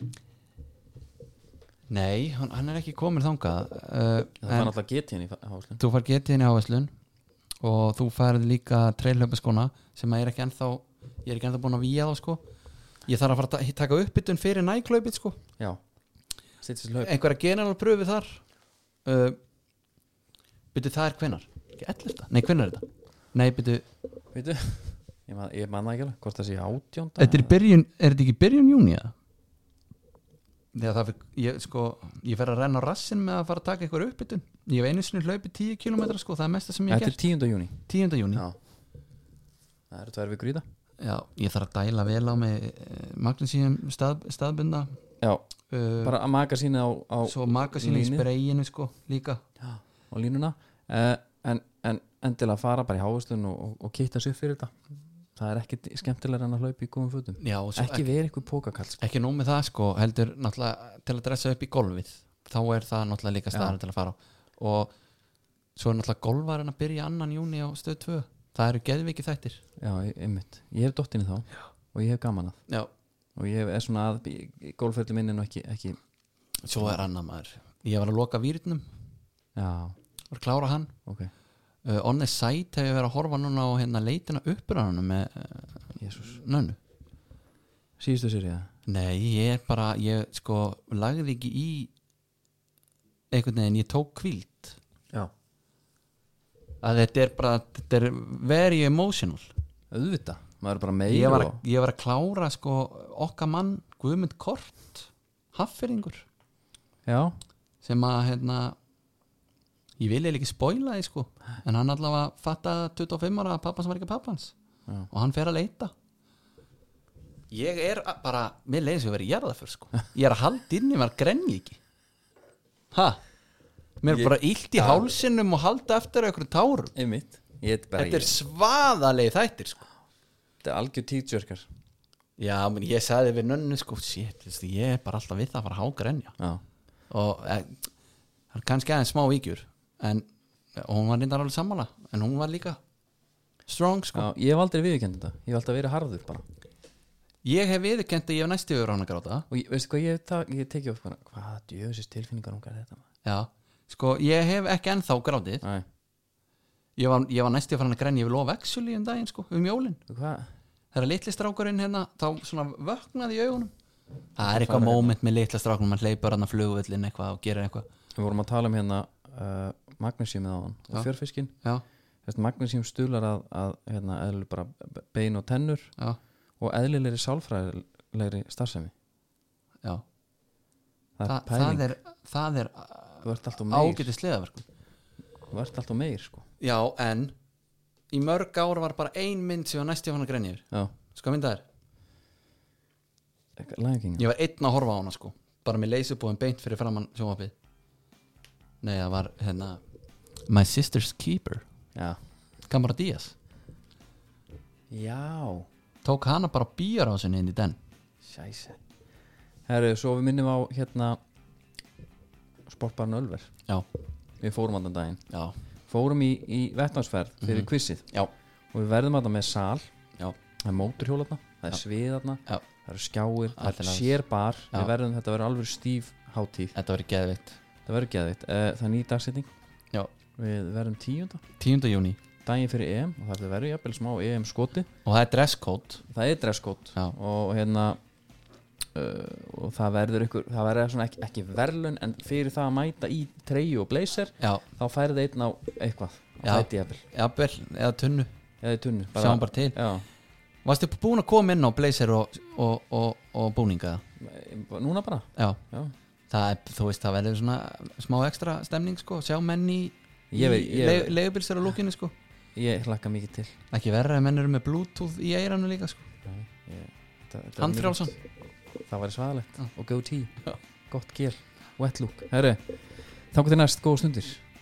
[SPEAKER 3] nei, hann, hann er ekki komin þangað uh,
[SPEAKER 2] Það var náttúrulega getið í hávíslun
[SPEAKER 3] þú fær getið inn í áherslun og þú færið líka treylöpaskona sem að ég er ekki ennþá ég er ekki ennþá búin að víja þá sko ég þarf að fara að ta- taka uppbytun fyrir næklaupið sko
[SPEAKER 2] Já Sittis löp
[SPEAKER 3] einhverja generalpröfi þar uh, byrju það er hvenar ekki 11. nei hvenar er þetta nei byrju
[SPEAKER 2] Veitu Ég man, ég man það ekki alveg Hvort það sé átjónda
[SPEAKER 3] byrjun er þetta ekki byrjun júni eða þegar það fyrir ég sko ég fer að renna á rassin með að fara að taka einhverja uppbytun ég hef einu sinni hlaupið 10 km sko það er mesta sem ég hef
[SPEAKER 2] Þetta er
[SPEAKER 3] gert
[SPEAKER 2] 10. júni
[SPEAKER 3] 10. júni
[SPEAKER 2] Já Það eru tvær vikur í það
[SPEAKER 3] Já, ég þarf að dæla vel á með magnesíum stað, staðbunda
[SPEAKER 2] Já
[SPEAKER 3] uh,
[SPEAKER 2] Bara að maka sína á, á,
[SPEAKER 3] svo magasínu í
[SPEAKER 2] línið.
[SPEAKER 3] spreyinu sko líka
[SPEAKER 2] á línuna uh, en, en endilega fara bara í hávíslun og, og, og kitta sig upp fyrir þetta Það er ekkit skemmtilega en að hlaupa í góðum fötum
[SPEAKER 3] Já, og svo
[SPEAKER 2] Ekki verið eitthvað pókakall sko.
[SPEAKER 3] ekki nóg með það sko heldur náttúrulega til að dressa upp í golfið þá er það náttúrulega líka staðar til að fara á og svo er náttúrulega golfarinn að byrja annan júni á stöð 2 það eru geðviki þættir
[SPEAKER 2] Já, einmitt Ég hef dottinni þá Já. og ég hef gaman að
[SPEAKER 3] Já.
[SPEAKER 2] og ég er svona að gólföldu minni nú ekki, ekki
[SPEAKER 3] svo er annar maður ég var að loka výrnum,
[SPEAKER 2] Já,
[SPEAKER 3] var að klára hann
[SPEAKER 2] ok
[SPEAKER 3] uh, on the site hefur verið að horfa núna á hérna leitina uppræðanum með uh,
[SPEAKER 2] Jésús
[SPEAKER 3] nönnu
[SPEAKER 2] Síðustu sérið
[SPEAKER 3] Nei, ég er bara, ég sko lagði ekki í einhvern veginn, ég tók kvíld
[SPEAKER 2] Já
[SPEAKER 3] að þetta er bara, þetta er very emotional
[SPEAKER 2] Auðvita Maður er bara meir
[SPEAKER 3] ég var, að,
[SPEAKER 2] og
[SPEAKER 3] ég var að klára sko okkar mann Guðmund Kort haffyrringur
[SPEAKER 2] Já
[SPEAKER 3] sem að hérna ég vil eiginlega ekki spoila því sko en hann allavega fattaði 25 ára að pappans var ekki pappans
[SPEAKER 2] Já.
[SPEAKER 3] og hann fer að leita ég er að- bara, mér leiðis við verið jarða fyrr sko ég er að halda inn í mér grenni ekki ha mér er bara illt í hálsinum og halda eftir einhverjum tárum
[SPEAKER 2] Einmitt Ég er bara
[SPEAKER 3] þetta er svaðalegi þættir sko
[SPEAKER 2] Þetta er algjör tíðsjörkar
[SPEAKER 3] já, menn ég sagði við nönnu sko shit, veistu, ég er bara alltaf við það að fara að hágrenja
[SPEAKER 2] Já
[SPEAKER 3] og eh, það er kannski aðeins smá ígjur en, eh, og hún var reyndar alveg sammála en hún var líka strong sko
[SPEAKER 2] Já, ég hef aldrei viðurkennt þetta Ég hef alltaf verið harður bara
[SPEAKER 3] ég hef viðurkennt að ég hef næstu yfir hann að gráta
[SPEAKER 2] Og ég, veistu hvað, ég, hef ta- ég tekið upp bara Hvað djöfisist tilfinningar ungar þetta maður
[SPEAKER 3] já, sko ég hef ekki ennþá grátið
[SPEAKER 2] Æ,
[SPEAKER 3] ég var, ég var næstu yfir hann að grenja yfir lofa actually um daginn sko, um jólin
[SPEAKER 2] hvað
[SPEAKER 3] þegar litli strákurinn hérna, þá svona vöknaði í augunum það er eitthvað moment með litla stráknum mann hleypur hann að flugvöllin eitthvað og gerir eitthvað
[SPEAKER 2] Við vorum að tala um hérna uh, magnesímið á hann og
[SPEAKER 3] Já.
[SPEAKER 2] fjörfiskin
[SPEAKER 3] já,
[SPEAKER 2] Þess, magnesím stular að, að hérna, eðlileg bara be- bein og tennur
[SPEAKER 3] já,
[SPEAKER 2] og eðlilegri sálfræðilegri starfsemi
[SPEAKER 3] já
[SPEAKER 2] Það er
[SPEAKER 3] Þa, það
[SPEAKER 2] pæling,
[SPEAKER 3] er, það er
[SPEAKER 2] þú ert alltaf meir
[SPEAKER 3] ágætið sleðaverkum
[SPEAKER 2] Þú ert alltaf meir sko
[SPEAKER 3] já, en í mörg ár var bara ein mynd sem var næst í hann að grenja yfir
[SPEAKER 2] Já,
[SPEAKER 3] sko mynd það er,
[SPEAKER 2] læginga
[SPEAKER 3] ég var einn að horfa á hana sko bara með leysubúin beint fyrir framann sjónvapið nei, það var hérna My Sister's Keeper,
[SPEAKER 2] Já,
[SPEAKER 3] Kamara Díaz
[SPEAKER 2] já,
[SPEAKER 3] tók hana bara býjar á sinni inn í den
[SPEAKER 2] sæse Herru, svo við minnum á hérna Sportbarn Ölver
[SPEAKER 3] já,
[SPEAKER 2] Við fórum andan daginn
[SPEAKER 3] já,
[SPEAKER 2] Fórum í, í vettnámsferð fyrir mm
[SPEAKER 3] já,
[SPEAKER 2] og við verðum að það með sal
[SPEAKER 3] já,
[SPEAKER 2] það er móturhjólaðna, það er sviðaðna
[SPEAKER 3] já.
[SPEAKER 2] það eru skjáir, það
[SPEAKER 3] Allt í
[SPEAKER 2] er
[SPEAKER 3] lagi.
[SPEAKER 2] sérbar
[SPEAKER 3] Já.
[SPEAKER 2] við verðum, þetta verður alveg stíf hátíð
[SPEAKER 3] þetta var geðvitt
[SPEAKER 2] það verður geðvitt, Eh, það er ný dagsetning
[SPEAKER 3] já,
[SPEAKER 2] við verðum tíunda,
[SPEAKER 3] 10. júni
[SPEAKER 2] daginn fyrir EM og það verður jafnvel smá EM skoti
[SPEAKER 3] og það er dresscode
[SPEAKER 2] það er dresskot
[SPEAKER 3] Já.
[SPEAKER 2] og hérna uh, og það verður ykkur, það verður svona ekki, ekki verðlun en fyrir það að mæta í treyju og blazer,
[SPEAKER 3] já,
[SPEAKER 2] þá færið einn á eitthvað, á
[SPEAKER 3] Já.
[SPEAKER 2] fæti jafnvel
[SPEAKER 3] jafnvel, eða tunnu
[SPEAKER 2] eða í tunnu,
[SPEAKER 3] sjáum bara til
[SPEAKER 2] Já.
[SPEAKER 3] varstu búin að koma inn á blazer og, og, og, og búninga
[SPEAKER 2] eh, núna bara
[SPEAKER 3] já,
[SPEAKER 2] Já.
[SPEAKER 3] það er, þú veist, það verður svona smá ekstra stemning sko, sjá menn í
[SPEAKER 2] Ég veit- ég veit.
[SPEAKER 3] leigubilsir á lúkinu sko
[SPEAKER 2] ég hlakka mikið til
[SPEAKER 3] ekki verra að menn eru með bluetooth í eiranu líka sko
[SPEAKER 2] Þetta- þetta var
[SPEAKER 3] handfrjálsson,
[SPEAKER 2] mikið- það væri svaðalegt
[SPEAKER 3] Já.
[SPEAKER 2] og goatee,
[SPEAKER 3] Já.
[SPEAKER 2] gott gél, wet look herri, þá getur næst góða stundir